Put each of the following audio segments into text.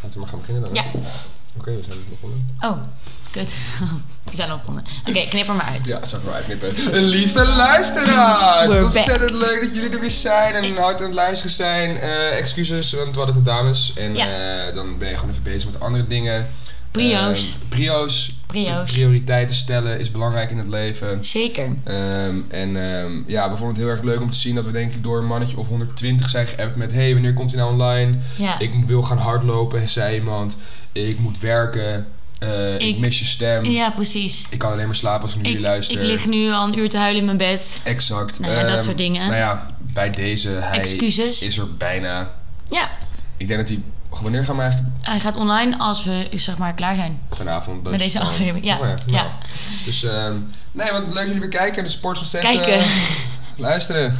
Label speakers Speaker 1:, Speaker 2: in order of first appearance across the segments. Speaker 1: Laten we maar gaan beginnen dan. hè?
Speaker 2: Ja.
Speaker 1: Oké, we zijn begonnen.
Speaker 2: Oh, kut. We zijn al begonnen. Oké, knip er maar uit.
Speaker 1: Dus- Ja, zou ik wel uitknippen. Lieve luisteraars!
Speaker 2: We're
Speaker 1: ontzettend leuk dat jullie er weer zijn en hard aan het luisteren zijn. Eh, excuses, want we hadden het dames. En
Speaker 2: Ja.
Speaker 1: eh, dan ben je gewoon even bezig met andere dingen.
Speaker 2: Prio's.
Speaker 1: Ehm, prio's.
Speaker 2: Prio's.
Speaker 1: Prioriteiten stellen is belangrijk in het leven.
Speaker 2: Zeker.
Speaker 1: Ehm, en ehm, ja, we vonden het heel erg leuk om te zien dat we denk ik door een mannetje of 120 zijn geappt met... hey, wanneer komt hij nou online?
Speaker 2: Ja.
Speaker 1: Ik wil gaan hardlopen, zei iemand. Ik moet werken. Eh, ik,
Speaker 2: Ik-
Speaker 1: mis je stem.
Speaker 2: ja, precies.
Speaker 1: Ik kan alleen maar slapen als ik naar
Speaker 2: Ik,
Speaker 1: jullie luister.
Speaker 2: ik lig nu al een uur te huilen in mijn bed.
Speaker 1: Exact.
Speaker 2: Nou ja, dat
Speaker 1: Ehm,
Speaker 2: soort dingen.
Speaker 1: Nou ja, bij deze, hij
Speaker 2: Excuses.
Speaker 1: is er bijna.
Speaker 2: Ja,
Speaker 1: Ik denk dat hij... Wanneer gaan we eigenlijk
Speaker 2: hij gaat online als we dus, zeg maar klaar zijn
Speaker 1: vanavond... dat
Speaker 2: met
Speaker 1: is
Speaker 2: deze
Speaker 1: gewoon-
Speaker 2: aflevering. Ja,
Speaker 1: Oh ja, nou.
Speaker 2: ja.
Speaker 1: Dus, ehm, nee, want leuk dat jullie weer kijken. De sport is nog steeds...
Speaker 2: Kijken.
Speaker 1: eh, luisteren.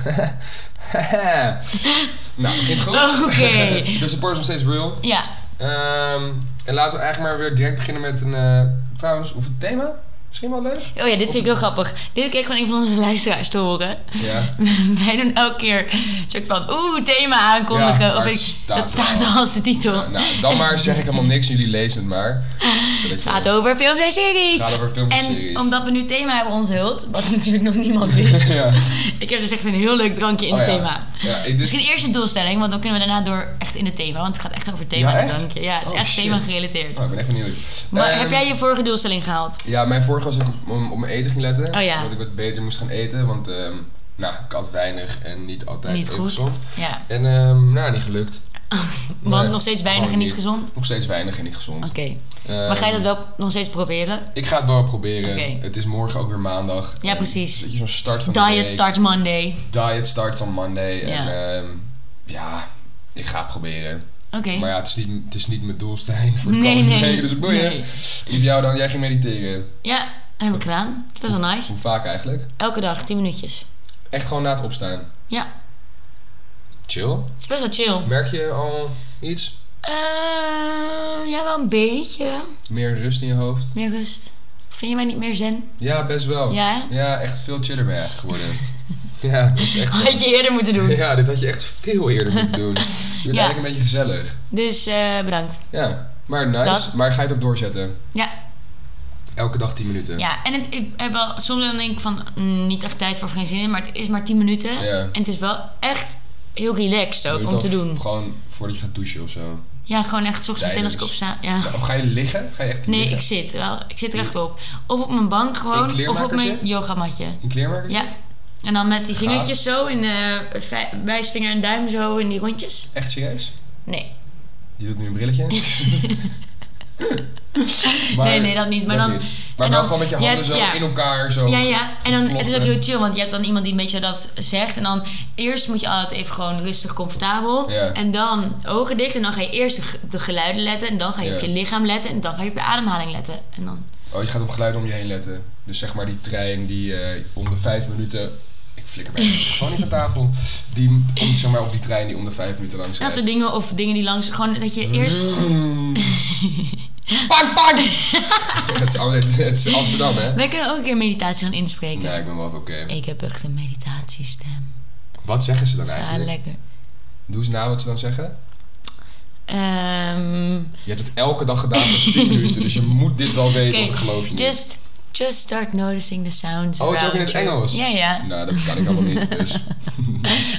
Speaker 1: nou, begint goed.
Speaker 2: Oké.
Speaker 1: de support is nog steeds real.
Speaker 2: Ja,
Speaker 1: Ehm, en laten we eigenlijk maar weer direct beginnen met een... eh, trouwens, of het thema? Misschien wel leuk?
Speaker 2: oh ja, dit vind ik heel grappig. Dit kreeg van een van onze luisteraars te horen.
Speaker 1: Ja.
Speaker 2: Wij doen elke keer een soort van oeh, thema aankondigen.
Speaker 1: Ja, maar
Speaker 2: of
Speaker 1: het
Speaker 2: ik,
Speaker 1: staat
Speaker 2: dat
Speaker 1: er
Speaker 2: staat
Speaker 1: al.
Speaker 2: al als de titel.
Speaker 1: Ja, nou, dan maar zeg ik helemaal niks. Jullie lezen het maar. Zodat je-
Speaker 2: Gaat over films en series.
Speaker 1: Gaat over films en series.
Speaker 2: En omdat we nu thema hebben onthuld, wat natuurlijk nog niemand wist.
Speaker 1: ja.
Speaker 2: Ik heb dus echt een heel leuk drankje in
Speaker 1: Oh,
Speaker 2: het
Speaker 1: ja.
Speaker 2: thema.
Speaker 1: Ja, ik, dus,
Speaker 2: Misschien eerst de doelstelling, want dan kunnen we daarna door echt in het thema. Want het gaat echt over thema,
Speaker 1: Ja,
Speaker 2: dat
Speaker 1: echt?
Speaker 2: drankje. Ja, het is
Speaker 1: Oh,
Speaker 2: echt
Speaker 1: shit.
Speaker 2: thema gerelateerd.
Speaker 1: oh, ik ben echt benieuwd.
Speaker 2: Maar
Speaker 1: Ehm,
Speaker 2: heb jij je vorige doelstelling gehaald?
Speaker 1: Ja, mijn vorige was dat ik op, om- op mijn eten ging letten.
Speaker 2: Oh, ja.
Speaker 1: Dat ik wat beter moest gaan eten. Want ehm, nou, ik had weinig en niet altijd
Speaker 2: Niet
Speaker 1: even
Speaker 2: goed.
Speaker 1: gezond.
Speaker 2: Ja.
Speaker 1: En ehm, nou, niet gelukt.
Speaker 2: Want
Speaker 1: Nee,
Speaker 2: nog steeds weinig en
Speaker 1: gewoon
Speaker 2: niet gezond?
Speaker 1: Nog steeds weinig en niet gezond.
Speaker 2: Oké.
Speaker 1: Ehm,
Speaker 2: Oh, maar ga je dat wel nog steeds proberen?
Speaker 1: Ik ga het wel proberen.
Speaker 2: Oké.
Speaker 1: Het is morgen ook weer maandag.
Speaker 2: Ja,
Speaker 1: En
Speaker 2: precies.
Speaker 1: Dat je zo'n start van de
Speaker 2: Diet
Speaker 1: week-
Speaker 2: starts Monday.
Speaker 1: Diet starts on Monday. En
Speaker 2: Ja.
Speaker 1: ehm, ja, ik ga het proberen.
Speaker 2: Oké.
Speaker 1: Maar ja, het is niet, het is niet mijn doelstelling voor de
Speaker 2: Nee,
Speaker 1: komende
Speaker 2: nee.
Speaker 1: weken, Dus boeien.
Speaker 2: Nee.
Speaker 1: Lief jou dan, jij ging mediteren.
Speaker 2: Ja, heb ik gedaan. Het is best wel nice.
Speaker 1: Hoe vaak eigenlijk?
Speaker 2: Elke dag 10 minuutjes.
Speaker 1: Echt gewoon na het opstaan.
Speaker 2: Ja,
Speaker 1: Chill.
Speaker 2: het is best wel chill.
Speaker 1: Merk je al iets?
Speaker 2: Ehm, ja, wel een beetje.
Speaker 1: Meer rust in je hoofd?
Speaker 2: Meer rust. Vind je mij niet meer zen?
Speaker 1: Ja, best wel.
Speaker 2: Ja, hè?
Speaker 1: Ja, echt veel chiller ben je eigenlijk geworden. ja, dat is echt zo.
Speaker 2: Had je eerder moeten doen.
Speaker 1: Ja, dit had je echt veel eerder moeten doen. Je bent
Speaker 2: Ja.
Speaker 1: eigenlijk een beetje gezellig.
Speaker 2: Dus eh, bedankt.
Speaker 1: Ja, maar nice.
Speaker 2: Dat-
Speaker 1: Maar ga je het ook doorzetten?
Speaker 2: Ja,
Speaker 1: Elke dag 10 minuten.
Speaker 2: ja. en het, ik heb wel, soms dan denk ik van mm, niet echt tijd voor geen zin in, maar het is maar 10 minuten.
Speaker 1: Ja.
Speaker 2: En het is wel echt heel relaxed
Speaker 1: Doe
Speaker 2: ook
Speaker 1: je
Speaker 2: om
Speaker 1: het
Speaker 2: te
Speaker 1: dan
Speaker 2: doen.
Speaker 1: Gewoon voordat je gaat douchen of zo.
Speaker 2: Ja, gewoon echt 's ochtends meteen als ik
Speaker 1: Tijdens.
Speaker 2: opsta. Ja.
Speaker 1: Of ga je liggen? Ga je echt
Speaker 2: Nee,
Speaker 1: liggen?
Speaker 2: ik zit wel. Ik zit rechtop. Of op mijn bank
Speaker 1: In
Speaker 2: gewoon, of
Speaker 1: kleermaker
Speaker 2: op mijn
Speaker 1: zit?
Speaker 2: yogamatje.
Speaker 1: In kleermaker?
Speaker 2: Ja. En dan met die vingertjes zo, in eh, vij- wijsvinger en duim zo, in die rondjes.
Speaker 1: Echt serieus?
Speaker 2: Nee,
Speaker 1: Je doet nu een brilletje. Maar-
Speaker 2: nee, nee, dat niet. Maar dan-
Speaker 1: niet. Maar
Speaker 2: en
Speaker 1: wel
Speaker 2: dan-
Speaker 1: gewoon met je
Speaker 2: je
Speaker 1: handen
Speaker 2: hebt-
Speaker 1: zo
Speaker 2: ja.
Speaker 1: in elkaar. Zo
Speaker 2: Ja, ja. En dan, het is ook
Speaker 1: gevlochten.
Speaker 2: heel chill, want je hebt dan iemand die een beetje dat zegt. En dan eerst moet je altijd even gewoon rustig, comfortabel.
Speaker 1: Ja.
Speaker 2: En dan ogen dicht. En dan ga je eerst de ge- op de geluiden letten. En dan ga je
Speaker 1: Ja.
Speaker 2: op je lichaam letten. En dan ga je op je ademhaling letten. En dan...
Speaker 1: Oh, je gaat op geluid om je heen letten. Dus zeg maar die trein die eh, om de vijf minuten... Ik flikker mijn gewoon niet van tafel. Die komt zeg maar op die trein die om de vijf minuten langs
Speaker 2: Dat
Speaker 1: rijdt.
Speaker 2: soort dingen of dingen die langs... Gewoon dat je eerst...
Speaker 1: Vroom. Mm. Pak, pak! het, is, Am- het- het is Amsterdam, hè?
Speaker 2: Wij kunnen ook een keer meditatie gaan inspreken.
Speaker 1: Nee, ik ben wel oké.
Speaker 2: Ik heb echt een meditatiestem.
Speaker 1: Wat zeggen ze dan
Speaker 2: Ja,
Speaker 1: eigenlijk?
Speaker 2: lekker.
Speaker 1: Doe eens na wat ze dan zeggen.
Speaker 2: Ehm,
Speaker 1: Je hebt het elke dag gedaan voor 10 minuten, dus je moet dit wel weten of
Speaker 2: Oké,
Speaker 1: ik geloof je niet.
Speaker 2: just, just start noticing the sounds
Speaker 1: Oh, het is ook in
Speaker 2: around
Speaker 1: het
Speaker 2: you.
Speaker 1: Engels?
Speaker 2: Ja, ja.
Speaker 1: Nou, dat kan ik allemaal niet, dus...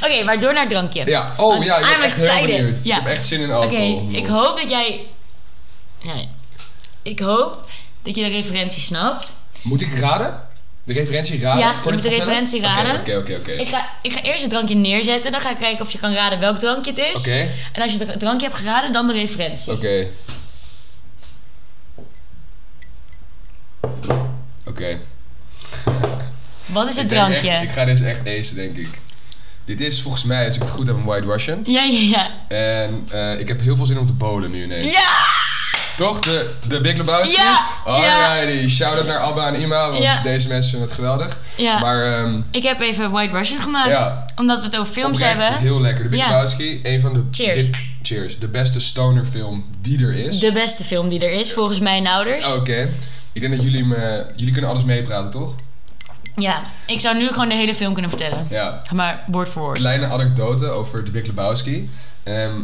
Speaker 2: Oké, maar door naar het drankje.
Speaker 1: Ja, oh ja, ik ben
Speaker 2: I'm
Speaker 1: echt heel
Speaker 2: excited.
Speaker 1: benieuwd.
Speaker 2: Ja.
Speaker 1: Ik heb echt zin in
Speaker 2: Oké,
Speaker 1: alcohol.
Speaker 2: ik hoop dat jij. Nee. Ik hoop dat je de referentie snapt.
Speaker 1: Moet ik raden? De referentie raden?
Speaker 2: Ja,
Speaker 1: voordat
Speaker 2: je moet de
Speaker 1: het vertellen?
Speaker 2: referentie
Speaker 1: Oké,
Speaker 2: raden.
Speaker 1: Oké, oké, oké.
Speaker 2: Ik ga, ik ga eerst het drankje neerzetten. Dan ga ik kijken of je kan raden welk drankje het is.
Speaker 1: Oké,
Speaker 2: En als je het drankje hebt geraden, dan de referentie.
Speaker 1: oké. Oké.
Speaker 2: Wat is het
Speaker 1: Ik denk
Speaker 2: drankje?
Speaker 1: echt- Ik ga deze echt acen, denk ik. Dit is volgens mij, als ik het goed heb, een White Russian.
Speaker 2: Ja, ja, ja.
Speaker 1: En eh, ik heb heel veel zin om te bowlen nu ineens.
Speaker 2: Ja!
Speaker 1: Toch? De, de Big Lebowski?
Speaker 2: Ja,
Speaker 1: Alrighty. Shout-out naar Abba en Ima, want
Speaker 2: Ja.
Speaker 1: deze mensen vinden het geweldig.
Speaker 2: Ja.
Speaker 1: Maar ehm
Speaker 2: Ik heb even White Russian gemaakt.
Speaker 1: Ja.
Speaker 2: Omdat we het over films
Speaker 1: oprecht
Speaker 2: hebben.
Speaker 1: heel lekker. De Big
Speaker 2: Ja.
Speaker 1: Lebowski, een van de...
Speaker 2: Cheers.
Speaker 1: dit- cheers. De beste stonerfilm die er is.
Speaker 2: De beste film die er is, volgens mijn ouders.
Speaker 1: Oké. Ik denk dat jullie me... Jullie kunnen alles meepraten, toch?
Speaker 2: Ja, ik zou nu gewoon de hele film kunnen vertellen.
Speaker 1: Ja.
Speaker 2: Maar woord voor woord.
Speaker 1: Kleine anekdote over de Big Lebowski. Ehm,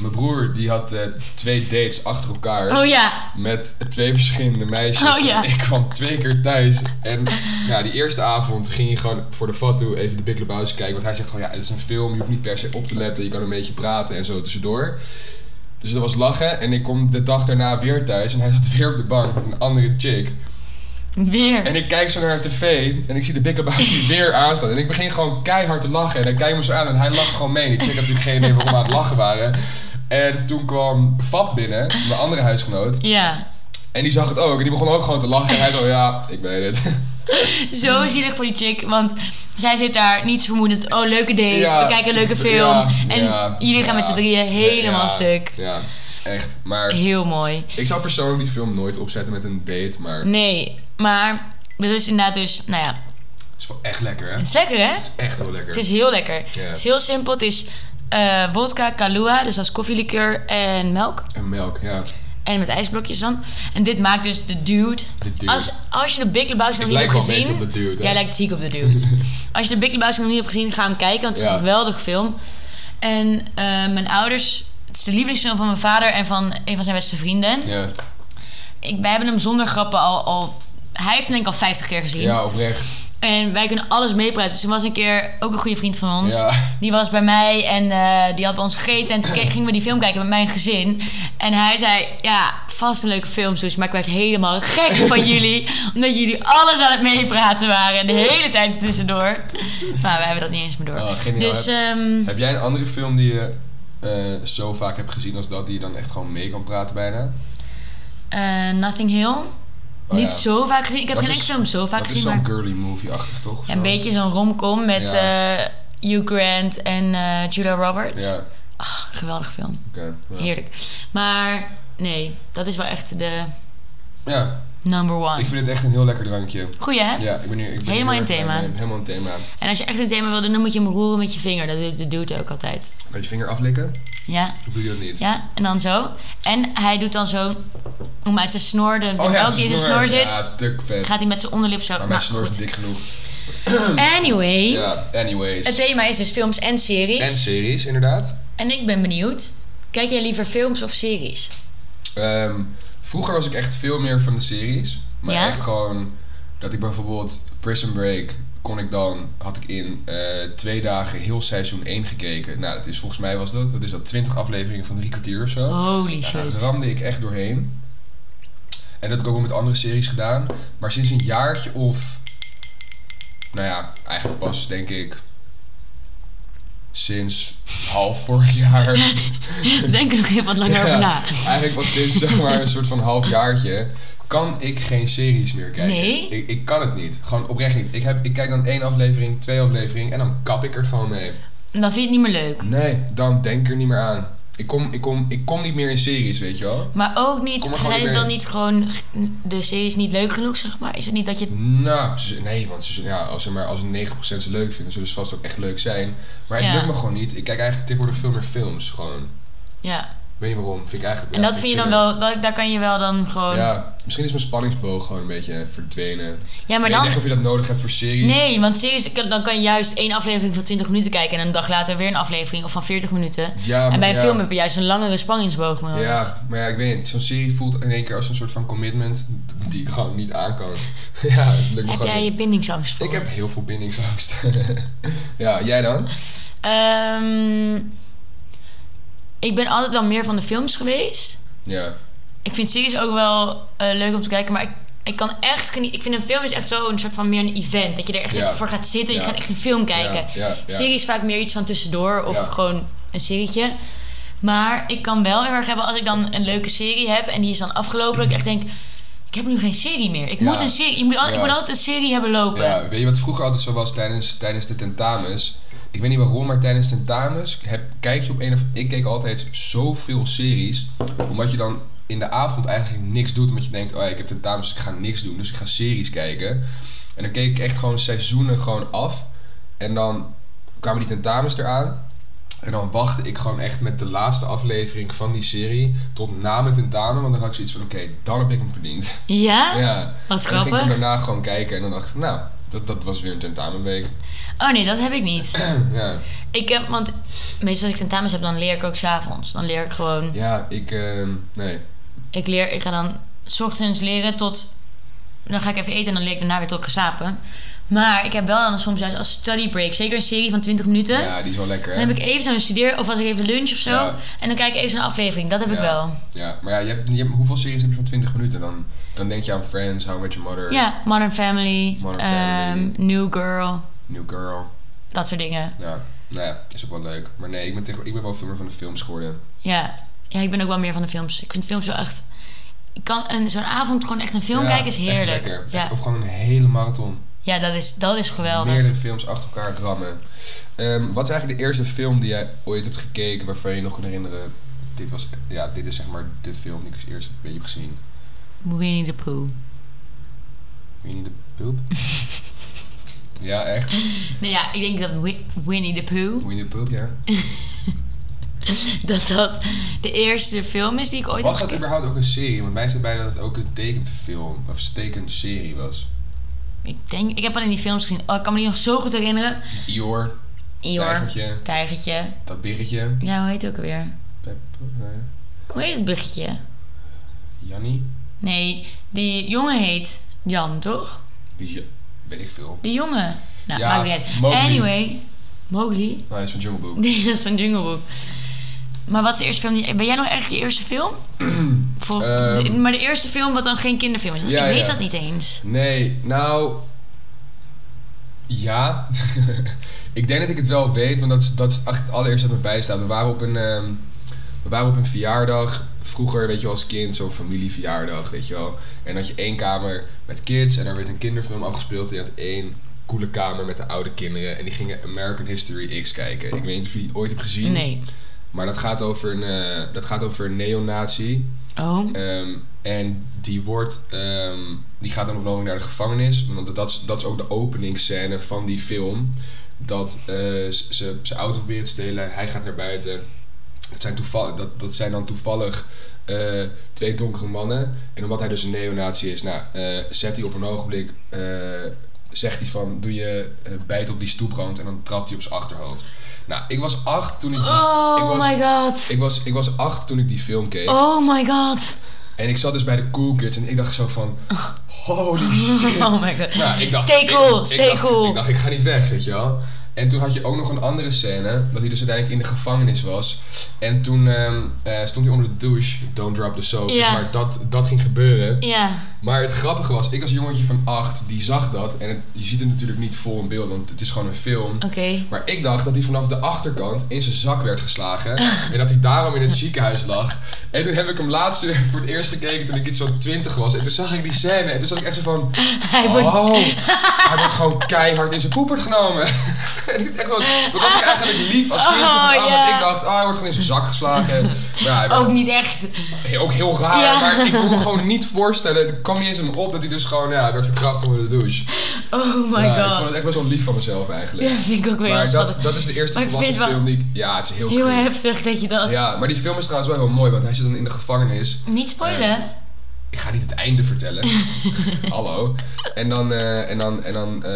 Speaker 1: Mijn broer die had eh, twee dates achter elkaar.
Speaker 2: Oh ja.
Speaker 1: Met twee verschillende meisjes.
Speaker 2: Oh ja.
Speaker 1: En Ik kwam twee keer thuis. En ja, die eerste avond ging je gewoon voor de fatu even de Big Lebowski kijken. Want hij zegt gewoon, ja, het is een film. Je hoeft niet per se op te letten. Je kan een beetje praten en zo tussendoor. Dus dat was lachen. En ik kom de dag daarna weer thuis. En hij zat weer op de bank met een andere chick.
Speaker 2: Weer.
Speaker 1: En ik kijk zo naar de tv. En ik zie de Big Lebowski weer aanstaan. En ik begin gewoon keihard te lachen. En hij kijkt me zo aan. En hij lacht gewoon mee. En ik check natuurlijk geen idee waarom we aan het lachen waren. En toen kwam Fab binnen. Mijn andere huisgenoot.
Speaker 2: Ja.
Speaker 1: En die zag het ook. En die begon ook gewoon te lachen. En hij zo, ja, ik weet het.
Speaker 2: Zo
Speaker 1: Mm.
Speaker 2: zielig voor die chick, want zij zit daar niet zo vermoedend. Oh, leuke date,
Speaker 1: Ja,
Speaker 2: we kijken een leuke film.
Speaker 1: ja,
Speaker 2: en
Speaker 1: ja,
Speaker 2: jullie gaan
Speaker 1: ja,
Speaker 2: met z'n drieën helemaal
Speaker 1: ja,
Speaker 2: stuk.
Speaker 1: Ja, echt. Maar
Speaker 2: Heel mooi.
Speaker 1: ik zou persoonlijk die film nooit opzetten met een date. Maar
Speaker 2: Mm.
Speaker 1: het
Speaker 2: Nee, maar dat is inderdaad dus, nou ja,
Speaker 1: is wel echt lekker, hè?
Speaker 2: het
Speaker 1: Het
Speaker 2: is lekker hè?
Speaker 1: is echt heel lekker.
Speaker 2: Het is heel lekker.
Speaker 1: Ja.
Speaker 2: Het is heel simpel, het is eh vodka, kalua, dus als koffielikeur en melk.
Speaker 1: En melk, ja.
Speaker 2: En met ijsblokjes dan. En dit maakt dus de dude.
Speaker 1: De dude.
Speaker 2: Als, als je de Big Lebowski nog
Speaker 1: Ik lijk
Speaker 2: niet hebt
Speaker 1: wel een
Speaker 2: gezien...
Speaker 1: beetje op de dude, hè?
Speaker 2: Jij lijkt ziek op de dude. als je de Big Lebowski nog niet hebt gezien, ga hem kijken. Want het is
Speaker 1: Ja.
Speaker 2: een geweldige film. En eh, mijn ouders... Het is de lievelingsfilm van mijn vader en van een van zijn beste vrienden.
Speaker 1: Ja,
Speaker 2: Ik, wij hebben hem zonder grappen al... al hij heeft hem denk ik al 50 keer gezien.
Speaker 1: ja oprecht.
Speaker 2: En wij kunnen alles meepraten. Dus er was een keer ook een goede vriend van ons.
Speaker 1: Ja.
Speaker 2: Die was bij mij en eh, die had bij ons gegeten. En toen ke- gingen we die film kijken met mijn gezin. En hij zei, ja, vast een leuke film, Soes. Maar ik werd helemaal gek van jullie. Omdat jullie alles aan het meepraten waren. En de hele tijd er tussendoor. Maar we hebben dat niet eens meer door.
Speaker 1: Oh, geniaal.
Speaker 2: dus
Speaker 1: Heb-
Speaker 2: ehm,
Speaker 1: Heb jij een andere film die je eh, zo vaak hebt gezien als dat, die je dan echt gewoon mee kan praten bijna?
Speaker 2: eh, Nothing Hill.
Speaker 1: Oh,
Speaker 2: niet
Speaker 1: ja.
Speaker 2: zo vaak gezien. Ik heb
Speaker 1: Dat
Speaker 2: geen
Speaker 1: is-
Speaker 2: enkele film zo vaak
Speaker 1: Dat is
Speaker 2: gezien.
Speaker 1: zo'n
Speaker 2: Maar
Speaker 1: girly movie-achtig, toch? Of
Speaker 2: ja,
Speaker 1: zo?
Speaker 2: een beetje zo'n romcom met
Speaker 1: Ja.
Speaker 2: eh, Hugh Grant en eh, Julia Roberts.
Speaker 1: Ja,
Speaker 2: Ah, geweldige film.
Speaker 1: oké. ja.
Speaker 2: Heerlijk. Maar nee, dat is wel echt de
Speaker 1: Ja,
Speaker 2: number one.
Speaker 1: ik vind het echt een heel lekker drankje.
Speaker 2: Goeie hè?
Speaker 1: Ja, ik ben hier, ik ben hier
Speaker 2: Helemaal
Speaker 1: heel
Speaker 2: in
Speaker 1: erg
Speaker 2: thema.
Speaker 1: blij mee. Helemaal een thema.
Speaker 2: En als je echt een thema wilde, dan moet je hem roeren met je vinger. Dat doet de dude ook altijd.
Speaker 1: Met je vinger aflikken?
Speaker 2: Ja,
Speaker 1: Of doe je dat niet?
Speaker 2: ja, en dan zo. En hij doet dan zo, om uit zijn snor, de
Speaker 1: Oh ja,
Speaker 2: melk die in zijn snor zit,
Speaker 1: Ja, tuk vet.
Speaker 2: gaat hij met zijn onderlip zo.
Speaker 1: maar mijn
Speaker 2: Nou,
Speaker 1: snor is
Speaker 2: goed.
Speaker 1: dik genoeg.
Speaker 2: Anyway,
Speaker 1: Ja, anyways.
Speaker 2: het thema is dus films en series.
Speaker 1: en series, inderdaad.
Speaker 2: En ik ben benieuwd, kijk jij liever films of series?
Speaker 1: Ehm, vroeger was ik echt veel meer van de series. Maar
Speaker 2: Ja?
Speaker 1: echt gewoon dat ik bijvoorbeeld Prison Break kon ik dan, had ik in eh, twee dagen heel seizoen 1 gekeken. Nou, dat is volgens mij was dat, dat is dat 20 afleveringen van drie kwartier of zo.
Speaker 2: Holy
Speaker 1: Ja, daar
Speaker 2: shit.
Speaker 1: Nou, ramde ik echt doorheen. En dat heb ik ook wel met andere series gedaan. Maar sinds een jaartje of... Nou ja, eigenlijk pas denk ik... Sinds half vorig jaar.
Speaker 2: Denk er nog even wat langer
Speaker 1: Ja,
Speaker 2: over na.
Speaker 1: Eigenlijk pas sinds zeg maar een soort van half jaartje... Kan ik geen series meer kijken.
Speaker 2: Nee?
Speaker 1: Ik, ik kan het niet. Gewoon oprecht niet. Ik, heb, ik kijk dan één aflevering, twee afleveringen... en dan kap ik er gewoon mee.
Speaker 2: Dan vind je het niet meer leuk.
Speaker 1: Nee, dan denk ik er niet meer aan. Ik kom, ik kom, ik kom niet meer in series, weet je wel.
Speaker 2: Maar ook niet,
Speaker 1: Kom er gewoon
Speaker 2: zijn het
Speaker 1: weer
Speaker 2: dan
Speaker 1: in.
Speaker 2: niet gewoon g- de series niet leuk genoeg, zeg maar? Is het niet dat je het
Speaker 1: Nou, ze- nee, want ze, ja, als, ze maar, als een 9% ze leuk vinden, zullen ze vast ook echt leuk zijn. Maar
Speaker 2: Ja.
Speaker 1: het lukt me gewoon niet. Ik kijk eigenlijk tegenwoordig veel meer films. Gewoon.
Speaker 2: Ja.
Speaker 1: Ik weet niet waarom. Vind ik eigenlijk,
Speaker 2: En
Speaker 1: ja,
Speaker 2: dat vind je
Speaker 1: ik
Speaker 2: dan
Speaker 1: chiller.
Speaker 2: wel, dat, daar kan je wel dan gewoon. Ja,
Speaker 1: Ja, misschien is mijn spanningsboog gewoon een beetje verdwenen.
Speaker 2: maar
Speaker 1: ik weet niet
Speaker 2: dan.
Speaker 1: echt of je dat nodig hebt voor series.
Speaker 2: Nee, want series, kan- dan kan je juist één aflevering van 20 minuten kijken en een dag later weer een aflevering of van 40 minuten.
Speaker 1: Ja, maar-
Speaker 2: en bij een
Speaker 1: ja.
Speaker 2: film heb je juist een langere spanningsboog nodig.
Speaker 1: Ja, maar ja, ik weet niet. Zo'n serie voelt in één keer als een soort van commitment die ik gewoon niet aan kan. ja, het lukt me
Speaker 2: Heb
Speaker 1: gewoon
Speaker 2: jij
Speaker 1: niet.
Speaker 2: je bindingsangst voor?
Speaker 1: Ik heb heel veel bindingsangst. ja, jij dan?
Speaker 2: Ehm, ik ben altijd wel meer van de films geweest.
Speaker 1: Ja.
Speaker 2: Ik vind series ook wel eh, leuk om te kijken, maar ik, ik kan echt genieten. Ik vind een film is echt zo een soort van meer een event. Dat je er echt
Speaker 1: Ja.
Speaker 2: even voor gaat zitten en
Speaker 1: Ja.
Speaker 2: je gaat echt een film kijken.
Speaker 1: Ja, ja, ja.
Speaker 2: Series vaak meer iets van tussendoor of
Speaker 1: Ja.
Speaker 2: gewoon een serietje. Maar ik kan wel heel erg hebben als ik dan een leuke serie heb en die is dan afgelopen. Dat ik echt denk, ik heb nu geen serie meer. Ik
Speaker 1: Ja.
Speaker 2: moet een serie, ik moet, al- ik
Speaker 1: Ja.
Speaker 2: moet altijd een serie hebben lopen.
Speaker 1: Ja, weet je wat vroeger altijd zo was tijdens, tijdens de tentamens? Ik weet niet waarom, maar tijdens tentamens heb, kijk je op een of... Ik keek altijd zoveel series, omdat je dan in de avond eigenlijk niks doet. Omdat je denkt, oh ja, ik heb tentamens, dus ik ga niks doen. Dus ik ga series kijken. En dan keek ik echt gewoon seizoenen gewoon af. En dan kwamen die tentamens eraan. En dan wachtte ik gewoon echt met de laatste aflevering van die serie tot na mijn tentamen. Want dan had ik zoiets van, oké, dan heb ik hem verdiend.
Speaker 2: Ja?
Speaker 1: Ja.
Speaker 2: Wat
Speaker 1: En dan ging ik
Speaker 2: grappig.
Speaker 1: hem daarna gewoon kijken en dan dacht ik van, nou, Dat, dat was weer een tentamenweek.
Speaker 2: Oh nee, dat heb ik niet.
Speaker 1: ja.
Speaker 2: Ik heb, want meestal als ik tentamens heb, dan leer ik ook s'avonds. Dan leer ik gewoon.
Speaker 1: ja, ik... ehm, nee.
Speaker 2: Ik leer, ik ga dan 's ochtends leren tot. Dan ga ik even eten en dan leer ik daarna weer tot ik ga slapen. Maar ik heb wel dan soms juist als study break, zeker een serie van 20 minuten.
Speaker 1: Ja, die is wel lekker, hè?
Speaker 2: Dan heb ik even zo'n studeer, of als ik even lunch of zo.
Speaker 1: Ja.
Speaker 2: En dan kijk ik even zo'n aflevering. Dat heb ik
Speaker 1: Ja.
Speaker 2: wel.
Speaker 1: Ja, maar ja, je hebt, je hebt- hoeveel series heb je van 20 minuten? Dan, dan denk je aan Friends, How I Met Your Mother,
Speaker 2: Ja, Modern Family,
Speaker 1: Modern
Speaker 2: ehm, New Girl,
Speaker 1: New Girl.
Speaker 2: dat soort dingen.
Speaker 1: Ja, nou ja, is ook wel leuk. Maar nee, ik ben, tegen, ik ben wel veel meer van de films geworden.
Speaker 2: Ja. ja, ik ben ook wel meer van de films. Ik vind films wel echt... Ik kan een- zo'n avond gewoon echt een film
Speaker 1: Ja,
Speaker 2: kijken is
Speaker 1: echt
Speaker 2: heerlijk.
Speaker 1: lekker. Echt-
Speaker 2: Ja,
Speaker 1: Of gewoon een hele marathon.
Speaker 2: ja dat, is, dat is geweldig.
Speaker 1: Meerdere films achter elkaar rammen. Ehm, wat is eigenlijk de eerste film die jij ooit hebt gekeken waarvan je je nog kunt herinneren... Dit, was, ja, dit is zeg maar de film die ik als eerste een beetje heb gezien.
Speaker 2: Winnie the Pooh.
Speaker 1: Winnie de Poep? ja, echt.
Speaker 2: Nou ja, ik denk dat Wi- Winnie the Pooh...
Speaker 1: Winnie de Poep, ja.
Speaker 2: dat dat de eerste film is die ik ooit
Speaker 1: Was
Speaker 2: heb
Speaker 1: dat
Speaker 2: gekeken.
Speaker 1: überhaupt ook een serie? Want mij staat bij dat het ook een tekenfilm of een tekenserie was.
Speaker 2: Ik, denk, ik heb alleen die films gezien. Oh, ik kan me die nog zo goed herinneren.
Speaker 1: Ior,
Speaker 2: Ior,
Speaker 1: Tijgertje,
Speaker 2: Tijgertje.
Speaker 1: dat biggetje.
Speaker 2: Ja, hoe heet het ook alweer?
Speaker 1: Pep, eh,
Speaker 2: Hoe heet het bruggetje?
Speaker 1: Jannie.
Speaker 2: Nee, die jongen heet Jan, toch?
Speaker 1: Wie is je? Weet ik veel.
Speaker 2: Die jongen. Nou,
Speaker 1: Ja,
Speaker 2: maakt niet uit.
Speaker 1: Mowgli.
Speaker 2: Anyway, Mowgli.
Speaker 1: Nou, hij is van Jungle Book.
Speaker 2: Nee, dat is van Jungle Book. Maar wat is de eerste film? die- Ben jij nog echt je eerste film? Voor,
Speaker 1: Ehm.
Speaker 2: de- maar de eerste film wat dan geen kinderfilm is.
Speaker 1: Ja,
Speaker 2: ik weet
Speaker 1: ja.
Speaker 2: dat niet eens.
Speaker 1: Nee, nou... Ja. ik denk dat ik het wel weet, want dat is, dat is echt het allereerste dat me bijstaat. We waren op een... ehm, we waren op een verjaardag. Vroeger, weet je wel, als kind, zo'n familieverjaardag, weet je wel. En dan had je één kamer met kids en daar werd een kinderfilm afgespeeld. En je had één coole kamer met de oude kinderen. En die gingen American History X kijken. Ik weet niet of je die ooit hebt gezien.
Speaker 2: Nee.
Speaker 1: Maar dat gaat over een, eh, dat gaat over een neonazi.
Speaker 2: Oh.
Speaker 1: Ehm, en die wordt, ehm, die gaat dan op loning naar de gevangenis. Want dat is, dat is ook de openingsscène van die film. Dat eh, z- ze zijn auto proberen te stelen. Hij gaat naar buiten. Dat zijn, toevallig, dat, dat zijn dan toevallig eh, twee donkere mannen. En omdat hij dus een neonazi is, nou, eh, zet hij op een ogenblik... eh, zegt hij van, doe je eh, bijt op die stoeprand en dan trapt hij op zijn achterhoofd. Nou, ik was acht toen ik... die- ik
Speaker 2: Oh
Speaker 1: was-
Speaker 2: my god.
Speaker 1: Ik was, ik was acht toen ik die film keek.
Speaker 2: Oh my god.
Speaker 1: En ik zat dus bij de Cool Kids en ik dacht zo van... Holy shit.
Speaker 2: Oh my god.
Speaker 1: Nou, ik dacht,
Speaker 2: Stay cool,
Speaker 1: ik,
Speaker 2: stay
Speaker 1: ik dacht,
Speaker 2: cool.
Speaker 1: Ik dacht, ik ga niet weg, weet je wel. En toen had je ook nog een andere scène, dat hij dus uiteindelijk in de gevangenis was. En toen ehm, eh, stond hij onder de douche, don't drop the soap.
Speaker 2: Ja.
Speaker 1: zeg Maar dat, dat ging gebeuren.
Speaker 2: Ja.
Speaker 1: Maar het grappige was, ik als jongetje van acht, die zag dat. En het- je ziet het natuurlijk niet vol in beeld, want het is gewoon een film.
Speaker 2: Oké.
Speaker 1: Maar ik dacht dat hij vanaf de achterkant in zijn zak werd geslagen. En dat hij daarom in het ziekenhuis lag. En toen heb ik hem laatst weer voor het eerst gekeken toen ik iets zo'n 20 was. En toen zag ik die scène. En toen zat ik echt zo van...
Speaker 2: Hij wordt.
Speaker 1: Oh, hij wordt gewoon keihard in zijn poepert genomen. En ik echt zo, dat was ik eigenlijk lief als kind.
Speaker 2: Oh,
Speaker 1: gedaan,
Speaker 2: ja.
Speaker 1: Want ik dacht, oh, hij wordt gewoon in zijn zak geslagen. Maar ja, hij werd
Speaker 2: Ook niet echt.
Speaker 1: heel- ook heel raar.
Speaker 2: Ja.
Speaker 1: Maar ik kon me gewoon niet voorstellen. Het kwam niet eens in me op dat hij dus gewoon... Ja, hij werd verkracht onder de douche.
Speaker 2: Oh my
Speaker 1: Ja, Nou, ik vond
Speaker 2: god.
Speaker 1: het echt best wel lief van mezelf eigenlijk.
Speaker 2: Ja, dat vind ik ook weer heel
Speaker 1: Maar dat,
Speaker 2: schattig.
Speaker 1: dat is de eerste
Speaker 2: Maar ik
Speaker 1: volwassen
Speaker 2: vind het wel
Speaker 1: film die ik... Ja, het is heel,
Speaker 2: Heel
Speaker 1: cru.
Speaker 2: heftig dat je dat.
Speaker 1: Ja, maar die film is trouwens wel heel mooi, want hij zit dan in de gevangenis.
Speaker 2: Niet spoilen.
Speaker 1: Ik ga niet het einde vertellen. Hallo. En dan, eh, en dan, en dan, eh,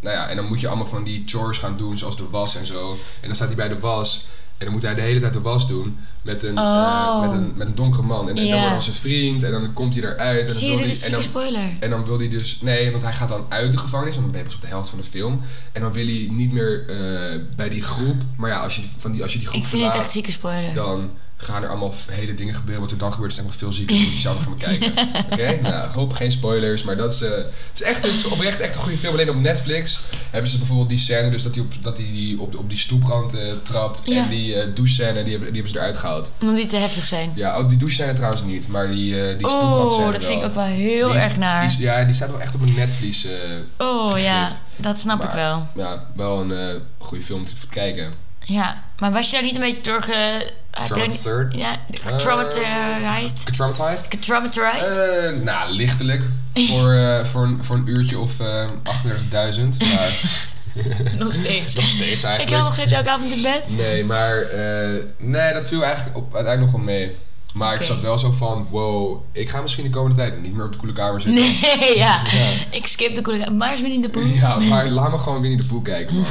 Speaker 1: nou ja, en dan moet je allemaal van die chores gaan doen, zoals de was en zo. En dan staat hij bij de was. En dan moet hij de hele tijd de was doen met een, eh,
Speaker 2: Oh.
Speaker 1: met een, met een donkere man. En, en
Speaker 2: Ja.
Speaker 1: dan wordt hij zijn vriend en dan komt hij eruit. En dan
Speaker 2: Zie je,
Speaker 1: wil
Speaker 2: dit
Speaker 1: hij-
Speaker 2: is
Speaker 1: en
Speaker 2: een
Speaker 1: dan-
Speaker 2: spoiler.
Speaker 1: en dan wil hij dus... Nee, want hij gaat dan uit de gevangenis. Want dan ben je pas op de helft van de film. En dan wil hij niet meer eh, bij die groep. Maar ja, als je, van die, als je die groep
Speaker 2: Ik vind het echt
Speaker 1: verlaat...
Speaker 2: zieke spoiler.
Speaker 1: Dan gaan er allemaal f- hele dingen gebeuren. Wat er dan gebeurt is nog veel zieker. Moet je zelf nog gaan kijken. Oké? Nou, ik hoop geen spoilers. Maar dat is, eh, het is echt het is oprecht echt een goede film. Alleen op Netflix hebben ze bijvoorbeeld die scène... Dus dat hij op, dat hij die op, op die stoeprand eh, trapt.
Speaker 2: Ja.
Speaker 1: En die eh douche scène, die hebben, die hebben ze eruit gehaald.
Speaker 2: Omdat die te heftig zijn.
Speaker 1: Ja, oh, die douche scène trouwens niet. Maar die, eh die stoeprand
Speaker 2: Oh, dat vind ik ook wel heel erg naar.
Speaker 1: ja, die staat wel echt op een netvlies. eh,
Speaker 2: oh ja,
Speaker 1: geschikt.
Speaker 2: dat snap ik
Speaker 1: Maar-
Speaker 2: wel.
Speaker 1: ja, wel een eh, goede film om te kijken.
Speaker 2: Ja, maar was je daar niet een beetje door ge... heb je daar niet-
Speaker 1: Traumatized? Eh.
Speaker 2: Ja, getraumatized.
Speaker 1: Getraumatized?
Speaker 2: Getraumatized?
Speaker 1: Eh, nou, lichtelijk. voor, eh, voor, een, voor een uurtje of eh 38.000. Maar
Speaker 2: nog steeds.
Speaker 1: Eh. nog steeds
Speaker 2: Ik hou
Speaker 1: eigenlijk.
Speaker 2: nog steeds elke avond in bed.
Speaker 1: Nee, maar eh, nee, dat viel eigenlijk op, uiteindelijk nog wel mee. Maar ik
Speaker 2: Oké.
Speaker 1: zat wel zo van, wow, ik ga misschien de komende tijd niet meer op de koele kamer zitten.
Speaker 2: Nee, ja.
Speaker 1: Ja.
Speaker 2: Ik skip de koele... Maar is Winnie de Pooh?
Speaker 1: Ja, maar laat me gewoon Winnie de Pooh kijken, man.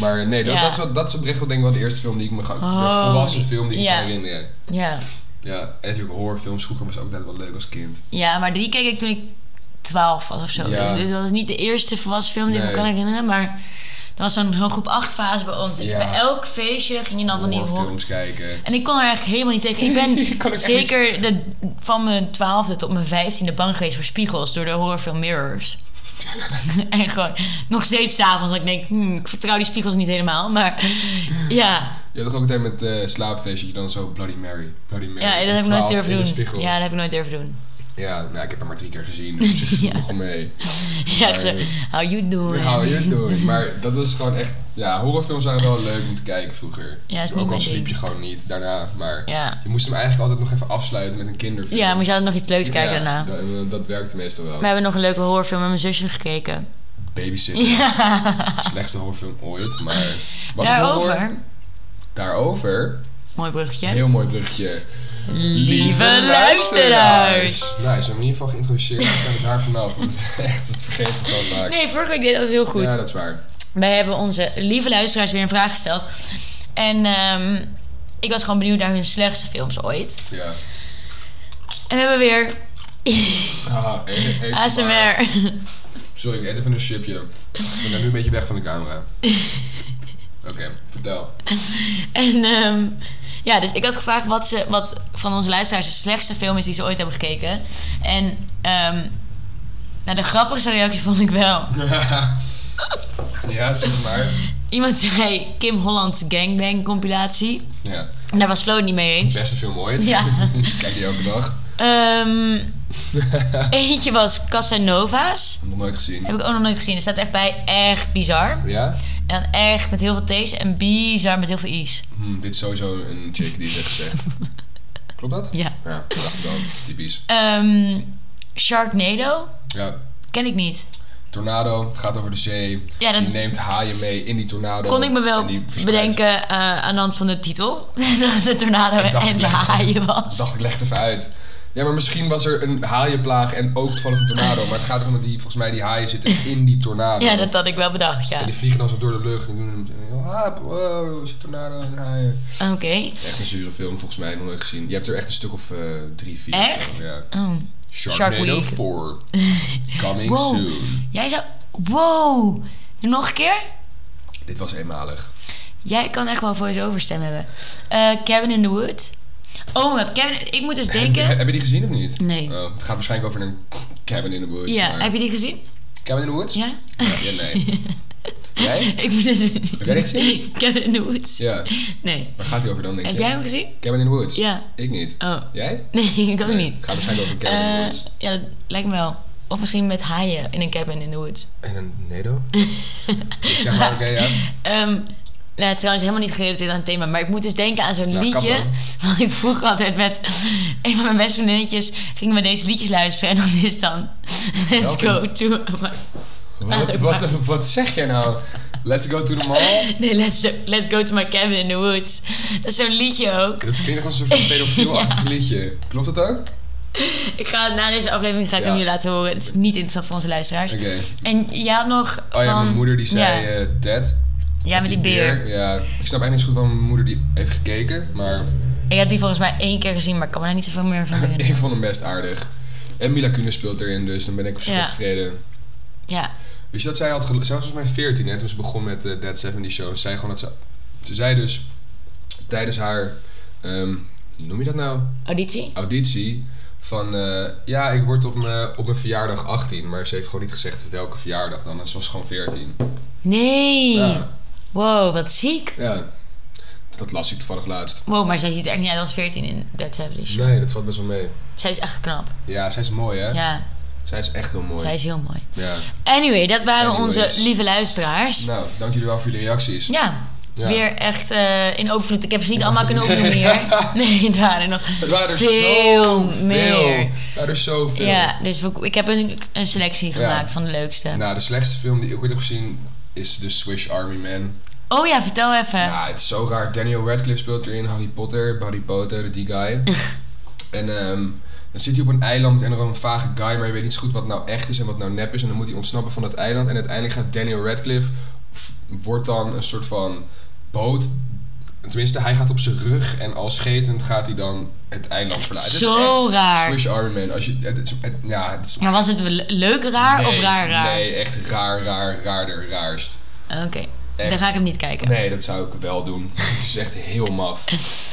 Speaker 1: Maar nee, dat,
Speaker 2: Ja.
Speaker 1: dat, is, wel- dat is oprecht wel denk ik wel de eerste film die ik me ga...
Speaker 2: Oh.
Speaker 1: De volwassen film die ik
Speaker 2: Ja.
Speaker 1: me kan herinneren.
Speaker 2: Ja.
Speaker 1: Ja, en natuurlijk horrorfilms. Vroeger was ook altijd wel leuk als kind.
Speaker 2: Ja, maar die keek ik toen ik 12 was of zo.
Speaker 1: Ja.
Speaker 2: Dus dat is niet de eerste volwassen film die ik me
Speaker 1: Nee.
Speaker 2: kan herinneren. Maar dat was zo'n zo'n groep 8 fase bij ons. Dus
Speaker 1: Ja.
Speaker 2: bij elk feestje ging je dan Nou, van die horror.
Speaker 1: Horrorfilms kijken.
Speaker 2: En ik kon er eigenlijk helemaal niet tegen. Ik
Speaker 1: Je kon ook
Speaker 2: ben
Speaker 1: echt
Speaker 2: zeker de, van mijn 12e tot mijn 15e bang geweest voor spiegels door de horrorfilm Mirrors. en gewoon nog steeds s'avonds. Dat ik denk, hmm, ik vertrouw die spiegels niet helemaal. Maar ja,
Speaker 1: Je had toch ook altijd met eh slaapfeest dat je dan zo Bloody Mary, Bloody Mary.
Speaker 2: ja dat heb ik nooit
Speaker 1: 12 in de
Speaker 2: durven
Speaker 1: spiegel.
Speaker 2: doen. Ja, dat heb ik nooit durven doen.
Speaker 1: Ja, nou, ik heb hem maar drie keer gezien, dus ik
Speaker 2: Ja.
Speaker 1: ja. begon mee.
Speaker 2: Ja, echt zo,
Speaker 1: Maar-
Speaker 2: how you doing?
Speaker 1: How you doing? Maar dat was gewoon echt... Ja, horrorfilms waren wel leuk om te kijken vroeger.
Speaker 2: Ja, is niet
Speaker 1: ook al
Speaker 2: mijn
Speaker 1: sliep je
Speaker 2: ding.
Speaker 1: gewoon niet daarna, maar...
Speaker 2: Ja.
Speaker 1: Je moest hem eigenlijk altijd nog even afsluiten met een kinderfilm.
Speaker 2: Ja, maar je had nog iets leuks kijken
Speaker 1: Ja,
Speaker 2: daarna.
Speaker 1: Dat, dat werkte meestal wel.
Speaker 2: We hebben nog een leuke horrorfilm met mijn zusje gekeken.
Speaker 1: Babysitter.
Speaker 2: Ja,
Speaker 1: Slechtste horrorfilm ooit, maar... was het horror?
Speaker 2: daarover.
Speaker 1: Daarover.
Speaker 2: Mooi bruggetje.
Speaker 1: Heel mooi brugje.
Speaker 2: Lieve luisteraars.
Speaker 1: Nou, je zou hem in ieder geval geïntroduceerd zijn zijn we daar vanaf. Want echt, dat vergeten we gewoon vaak.
Speaker 2: Nee, vorige week deed dat heel goed.
Speaker 1: Ja, dat is waar.
Speaker 2: Wij hebben onze lieve luisteraars weer een vraag gesteld. En ehm, ik was gewoon benieuwd naar hun slechtste films ooit.
Speaker 1: Ja.
Speaker 2: En we hebben weer
Speaker 1: Ah, e- e- maar.
Speaker 2: ASMR.
Speaker 1: Sorry, ik eet even een chipje. Ik ben nu een beetje weg van de camera. Oké, vertel.
Speaker 2: En ehm, ja, dus ik had gevraagd wat, ze, wat van onze luisteraars de slechtste film is die ze ooit hebben gekeken. En ehm nou, de grappigste reactie vond ik wel.
Speaker 1: ja, zeg maar.
Speaker 2: Iemand zei Kim Holland's Gangbang compilatie.
Speaker 1: Ja,
Speaker 2: En Daar was Flo het niet mee eens.
Speaker 1: beste film ooit.
Speaker 2: Ja.
Speaker 1: Kijk die elke dag.
Speaker 2: Ehm, eentje was Casanova's.
Speaker 1: Nog nooit gezien.
Speaker 2: Heb ik ook nog nooit gezien. Er staat echt bij echt bizar.
Speaker 1: Ja?
Speaker 2: En dan echt met heel veel T's en bizar met heel veel I's.
Speaker 1: Hm, dit is sowieso een chick die het heeft gezegd. Klopt dat?
Speaker 2: Ja.
Speaker 1: Ja, dacht ik wel. Typisch.
Speaker 2: Ehm, Sharknado
Speaker 1: Ja,
Speaker 2: ken ik niet.
Speaker 1: tornado gaat over de zee.
Speaker 2: Ja, dat-
Speaker 1: Die neemt haaien mee in die tornado.
Speaker 2: Kon ik me wel
Speaker 1: En die verspreidt-
Speaker 2: bedenken eh, aan de hand van de titel. dat de tornado
Speaker 1: Ik dacht
Speaker 2: en de
Speaker 1: echt-
Speaker 2: haaien was.
Speaker 1: Dacht ik, leg het even uit. Ja, maar misschien was er een haaienplaag en ook toevallig een tornado. Maar het gaat erom dat die, volgens mij die haaien zitten in die tornado.
Speaker 2: Ja, dat had ik wel bedacht, ja.
Speaker 1: En die vliegen dan zo door de lucht en doen hem... Ah, wow, is een tornado en haaien.
Speaker 2: Oké.
Speaker 1: Echt een zure film, volgens mij, nog nooit gezien. Je hebt er echt een stuk of eh, drie, vier.
Speaker 2: Echt?
Speaker 1: of zo, Ja.
Speaker 2: Oh.
Speaker 1: Sharknado
Speaker 2: Week.
Speaker 1: 4. Coming
Speaker 2: Wow.
Speaker 1: soon.
Speaker 2: Jij zou... Wow! Doe nog een keer?
Speaker 1: Dit was eenmalig.
Speaker 2: Jij kan echt wel voice-over stem hebben. Eh Cabin in the Wood. Oh my god, Cabin... Ik moet dus denken...
Speaker 1: Heb, heb je die gezien of niet?
Speaker 2: Nee.
Speaker 1: Oh, het gaat waarschijnlijk over een cabin in the woods.
Speaker 2: ja,
Speaker 1: maar-
Speaker 2: heb je die gezien?
Speaker 1: Cabin in the woods?
Speaker 2: Ja?
Speaker 1: Ja, ja, nee. Jij?
Speaker 2: ik moet dus...
Speaker 1: Heb jij die gezien?
Speaker 2: Cabin in the Woods.
Speaker 1: Ja. eh,
Speaker 2: Nee.
Speaker 1: Waar gaat hij over dan, denk
Speaker 2: Heb
Speaker 1: je?
Speaker 2: jij hem gezien?
Speaker 1: Cabin in the woods?
Speaker 2: Ja.
Speaker 1: Ik niet.
Speaker 2: Oh.
Speaker 1: Jij?
Speaker 2: Nee, ik ook
Speaker 1: Nee,
Speaker 2: niet.
Speaker 1: Het gaat waarschijnlijk over een cabin in the
Speaker 2: Eh,
Speaker 1: woods.
Speaker 2: ja, dat lijkt me wel. Of misschien met haaien in een cabin in the woods.
Speaker 1: En een nedo? ik zeg maar, oké, ja.
Speaker 2: Ehm nou, het is trouwens helemaal niet gerelateerd aan het thema. Maar ik moet dus denken aan zo'n
Speaker 1: Nou, kap
Speaker 2: liedje.
Speaker 1: dan.
Speaker 2: Want ik vroeger altijd met een van mijn beste vriendinnetjes... gingen we deze liedjes luisteren. En dan is dan... Let's
Speaker 1: Welke?
Speaker 2: go to...
Speaker 1: Wat, wat, wat zeg jij nou? Let's go to the mall?
Speaker 2: Nee, let's, let's go to my cabin in the woods. Dat is zo'n liedje ook.
Speaker 1: Dat klinkt als een soort van pedofiel-achtig liedje. Klopt dat ook?
Speaker 2: Ik ga na deze aflevering ga ik
Speaker 1: Ja.
Speaker 2: hem jullie laten horen. Het is niet interessant voor onze luisteraars.
Speaker 1: Oké.
Speaker 2: En jij had nog van...
Speaker 1: Oh ja, mijn moeder die zei
Speaker 2: Ja,
Speaker 1: eh, Ted.
Speaker 2: ja met die beer.
Speaker 1: Ja, ik snap eigenlijk niet zo goed van mijn moeder die heeft gekeken, maar
Speaker 2: Ik heb die volgens mij één keer gezien, maar ik kan me daar niet zoveel meer van herinneren.
Speaker 1: ik vond hem best aardig. En Mila Kunis speelt erin, dus dan ben ik op zich wel
Speaker 2: Ja.
Speaker 1: tevreden.
Speaker 2: Ja.
Speaker 1: Weet je dat zij had gelo- Zij was volgens mij 14 hè, toen ze begon met eh Dead 70 Show. Ze zei gewoon dat ze... Ze zei dus tijdens haar... ehm, noem je dat nou?
Speaker 2: Auditie?
Speaker 1: Auditie. Van, eh, ja, ik word op mijn, op mijn verjaardag 18. Maar ze heeft gewoon niet gezegd welke verjaardag dan. En ze was gewoon 14.
Speaker 2: Nee.
Speaker 1: Ja,
Speaker 2: Wow, wat ziek.
Speaker 1: ja. Dat las ik toevallig laatst.
Speaker 2: Wow, maar zij ziet er echt niet uit als 14 in Dead Savage.
Speaker 1: Nee, dat valt best wel mee.
Speaker 2: Zij is echt knap.
Speaker 1: Ja, zij is mooi, hè?
Speaker 2: Ja,
Speaker 1: Zij is echt heel mooi.
Speaker 2: zij is heel mooi.
Speaker 1: Ja.
Speaker 2: Anyway, dat waren
Speaker 1: Anyways.
Speaker 2: onze lieve luisteraars.
Speaker 1: Nou, dank jullie wel voor jullie reacties.
Speaker 2: Ja,
Speaker 1: Ja.
Speaker 2: weer echt eh, in overvloed. Ik heb ze niet allemaal kunnen opnoemen hier. Nee, het waren er nog
Speaker 1: Het waren er
Speaker 2: veel
Speaker 1: zoveel.
Speaker 2: meer.
Speaker 1: Het waren er zoveel.
Speaker 2: Ja, dus we- ik heb een, een selectie gemaakt van de leukste.
Speaker 1: Nou, de slechtste film die ik ooit heb gezien is The Swiss Army Man.
Speaker 2: Oh ja, vertel even.
Speaker 1: Nou, het is zo raar. Daniel Radcliffe speelt erin, Harry Potter, Harry Potter, die guy. En ehm, dan zit hij op een eiland en er een vage guy, maar je weet niet zo goed wat nou echt is en wat nou nep is. En dan moet hij ontsnappen van dat eiland. En uiteindelijk gaat Daniel Radcliffe, f- wordt dan een soort van boot. Tenminste, hij gaat op zijn rug en al schetend gaat hij dan het eiland verlaten. Het is
Speaker 2: Zo
Speaker 1: echt
Speaker 2: raar.
Speaker 1: Slash Iron Man. Als je, het is, het- ja, het is-
Speaker 2: Maar was het le- leuk raar of
Speaker 1: nee,
Speaker 2: raar raar?
Speaker 1: Nee, echt raar, raar, raarder, raarst.
Speaker 2: Oké,
Speaker 1: Echt.
Speaker 2: dan ga ik hem niet kijken.
Speaker 1: Nee, dat zou ik wel doen. Het is echt heel maf.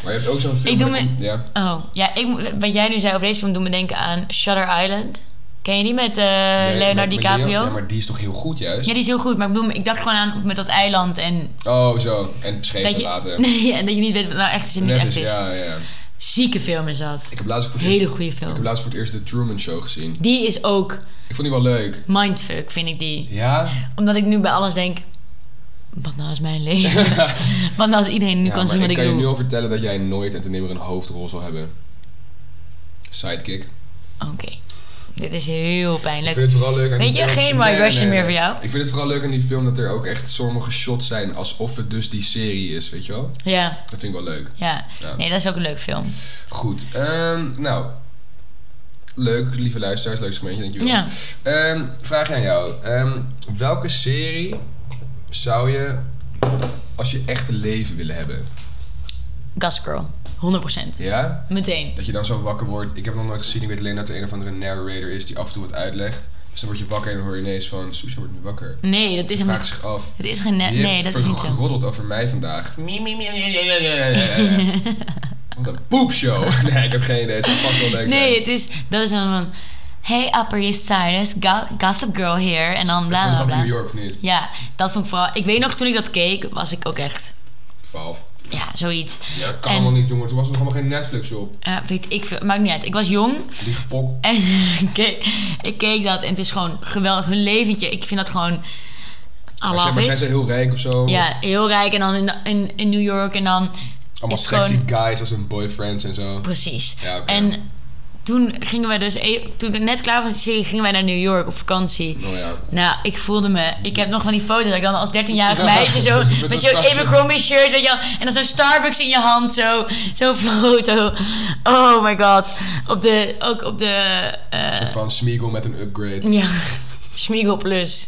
Speaker 1: Maar je hebt ook zo'n film...
Speaker 2: Ik doe
Speaker 1: met-
Speaker 2: me-
Speaker 1: Ja.
Speaker 2: Oh, ja, ik, moet- wat jij nu zei over deze film doet me denken aan Shutter Island. Ken je die met eh,
Speaker 1: Nee, maar- maar
Speaker 2: Leonardo
Speaker 1: die-
Speaker 2: DiCaprio?
Speaker 1: Ja, maar die is toch heel goed juist?
Speaker 2: Ja, die is heel goed, maar ik, bedoel, ik dacht gewoon aan met dat eiland en
Speaker 1: Oh, zo. En beschreven
Speaker 2: dat je,
Speaker 1: later.
Speaker 2: nee, en dat je niet weet wat nou echt is en niet
Speaker 1: Nep
Speaker 2: echt
Speaker 1: is-
Speaker 2: is.
Speaker 1: Ja, ja.
Speaker 2: Zieke film is dat.
Speaker 1: Ik heb laatst ook voor het
Speaker 2: Hele
Speaker 1: eerst-
Speaker 2: goede
Speaker 1: Ik heb
Speaker 2: film.
Speaker 1: laatst voor het eerst de Truman Show gezien.
Speaker 2: Die is ook
Speaker 1: Ik vond die wel leuk.
Speaker 2: mindfuck, vind ik die.
Speaker 1: Ja?
Speaker 2: Omdat ik nu bij alles denk, wat nou is mijn leven? wat nou als iedereen nu
Speaker 1: ja,
Speaker 2: kan zien
Speaker 1: maar ik
Speaker 2: wat ik
Speaker 1: kan je
Speaker 2: doe?
Speaker 1: nu al vertellen dat jij nooit en ten nimmer een hoofdrol zal hebben. Sidekick.
Speaker 2: Oké, dit is heel
Speaker 1: Ik
Speaker 2: pijnlijk.
Speaker 1: vind het vooral leuk aan
Speaker 2: Weet
Speaker 1: die
Speaker 2: je,
Speaker 1: film-
Speaker 2: geen
Speaker 1: Nee,
Speaker 2: My
Speaker 1: nee,
Speaker 2: Russian
Speaker 1: nee.
Speaker 2: meer voor jou?
Speaker 1: Ik vind het vooral leuk aan die film dat er ook echt sommige shots zijn alsof het dus die serie is, weet je wel?
Speaker 2: Ja,
Speaker 1: Dat vind ik wel leuk.
Speaker 2: ja.
Speaker 1: Ja.
Speaker 2: Nee, dat is ook een leuk film.
Speaker 1: Goed, ehm, nou. Leuk, lieve luisteraars, leuk segmentje, dankjewel.
Speaker 2: Ja.
Speaker 1: Ehm, vraag aan jou. Ehm, welke serie zou je als je echt een leven willen hebben?
Speaker 2: Gus Girl, 100%.
Speaker 1: Ja?
Speaker 2: Meteen.
Speaker 1: Dat je dan zo wakker wordt. Ik heb het nog nooit gezien, ik weet alleen dat er een of andere narrator is die af en toe wat uitlegt. Dus dan word je wakker en dan hoor je ineens van, Susha wordt nu wakker.
Speaker 2: Nee, dat is
Speaker 1: Ze
Speaker 2: helemaal
Speaker 1: vraagt zich af.
Speaker 2: Het is geen net.
Speaker 1: Die
Speaker 2: Nee,
Speaker 1: heeft
Speaker 2: dat is niet zo.
Speaker 1: verroddeld over mij vandaag. Wat een poepshow. Nee, ik heb geen idee. Het zou vast wel leuk
Speaker 2: Nee,
Speaker 1: zijn.
Speaker 2: het is. Dat is dan van. Hey, Upper East Siders, Gossip Girl here. En dan bla
Speaker 1: Het
Speaker 2: bla
Speaker 1: was nog in New
Speaker 2: bla.
Speaker 1: York of niet?
Speaker 2: Ja, dat vond ik vooral. Ik weet nog toen ik dat keek, was ik ook echt.
Speaker 1: 12.
Speaker 2: Ja, zoiets.
Speaker 1: Ja, dat kan
Speaker 2: En-
Speaker 1: allemaal niet, jongen. Toen was er nog helemaal geen Netflix op.
Speaker 2: Eh, weet ik veel. Maakt niet uit. Ik was jong.
Speaker 1: Die gepok.
Speaker 2: En ik keek, ik keek dat en het is gewoon geweldig. Hun leventje, ik vind dat gewoon. I
Speaker 1: Maar, zeg
Speaker 2: love
Speaker 1: maar
Speaker 2: it.
Speaker 1: zijn ze heel rijk of zo?
Speaker 2: Ja, heel rijk en dan in, in, in New York en dan.
Speaker 1: Allemaal
Speaker 2: is
Speaker 1: sexy
Speaker 2: gewoon-
Speaker 1: guys als hun boyfriends en zo.
Speaker 2: Precies.
Speaker 1: Ja, oké.
Speaker 2: En toen gingen wij dus. e- Toen ik net klaar was met de serie, gingen wij naar New York op vakantie.
Speaker 1: Nou ja.
Speaker 2: Nou, ik voelde me. Ik heb nog van die foto's dat ik dan als 13-jarig
Speaker 1: Ja,
Speaker 2: meisje zo.
Speaker 1: met
Speaker 2: met
Speaker 1: zo'n
Speaker 2: zo'n
Speaker 1: tasje.
Speaker 2: Abercrombie shirt. Weet je wel, en dan zo'n Starbucks in je hand. Zo, zo'n foto. Oh my god. Op de. Ook op de. eh,
Speaker 1: Een soort van Smeagol met een upgrade.
Speaker 2: ja, Schmiegel Plus.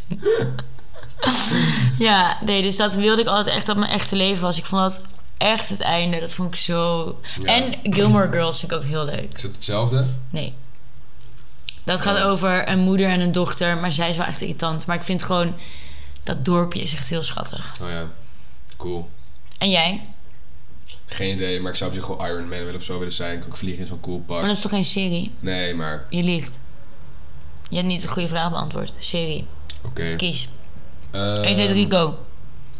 Speaker 2: ja, nee, dus dat wilde ik altijd echt dat mijn echte leven was. Ik vond dat echt het einde. Dat vond ik zo.
Speaker 1: Ja.
Speaker 2: En Gilmore Girls vind ik ook heel leuk.
Speaker 1: Is dat hetzelfde?
Speaker 2: Nee. Dat gaat over een moeder en een dochter, maar zij is wel echt irritant. Maar ik vind gewoon dat dorpje is echt heel schattig.
Speaker 1: Nou ja. Cool.
Speaker 2: En jij?
Speaker 1: Geen idee, maar ik zou op zich wel Iron Man willen of zo willen zijn. Ik kan ook vliegen in zo'n cool
Speaker 2: Maar
Speaker 1: pak.
Speaker 2: dat is toch geen serie?
Speaker 1: Nee, maar
Speaker 2: Je liegt. Je hebt niet de goede vraag beantwoord. Serie.
Speaker 1: oké.
Speaker 2: Kies.
Speaker 1: Ehm,
Speaker 2: 1, 2, 3, go.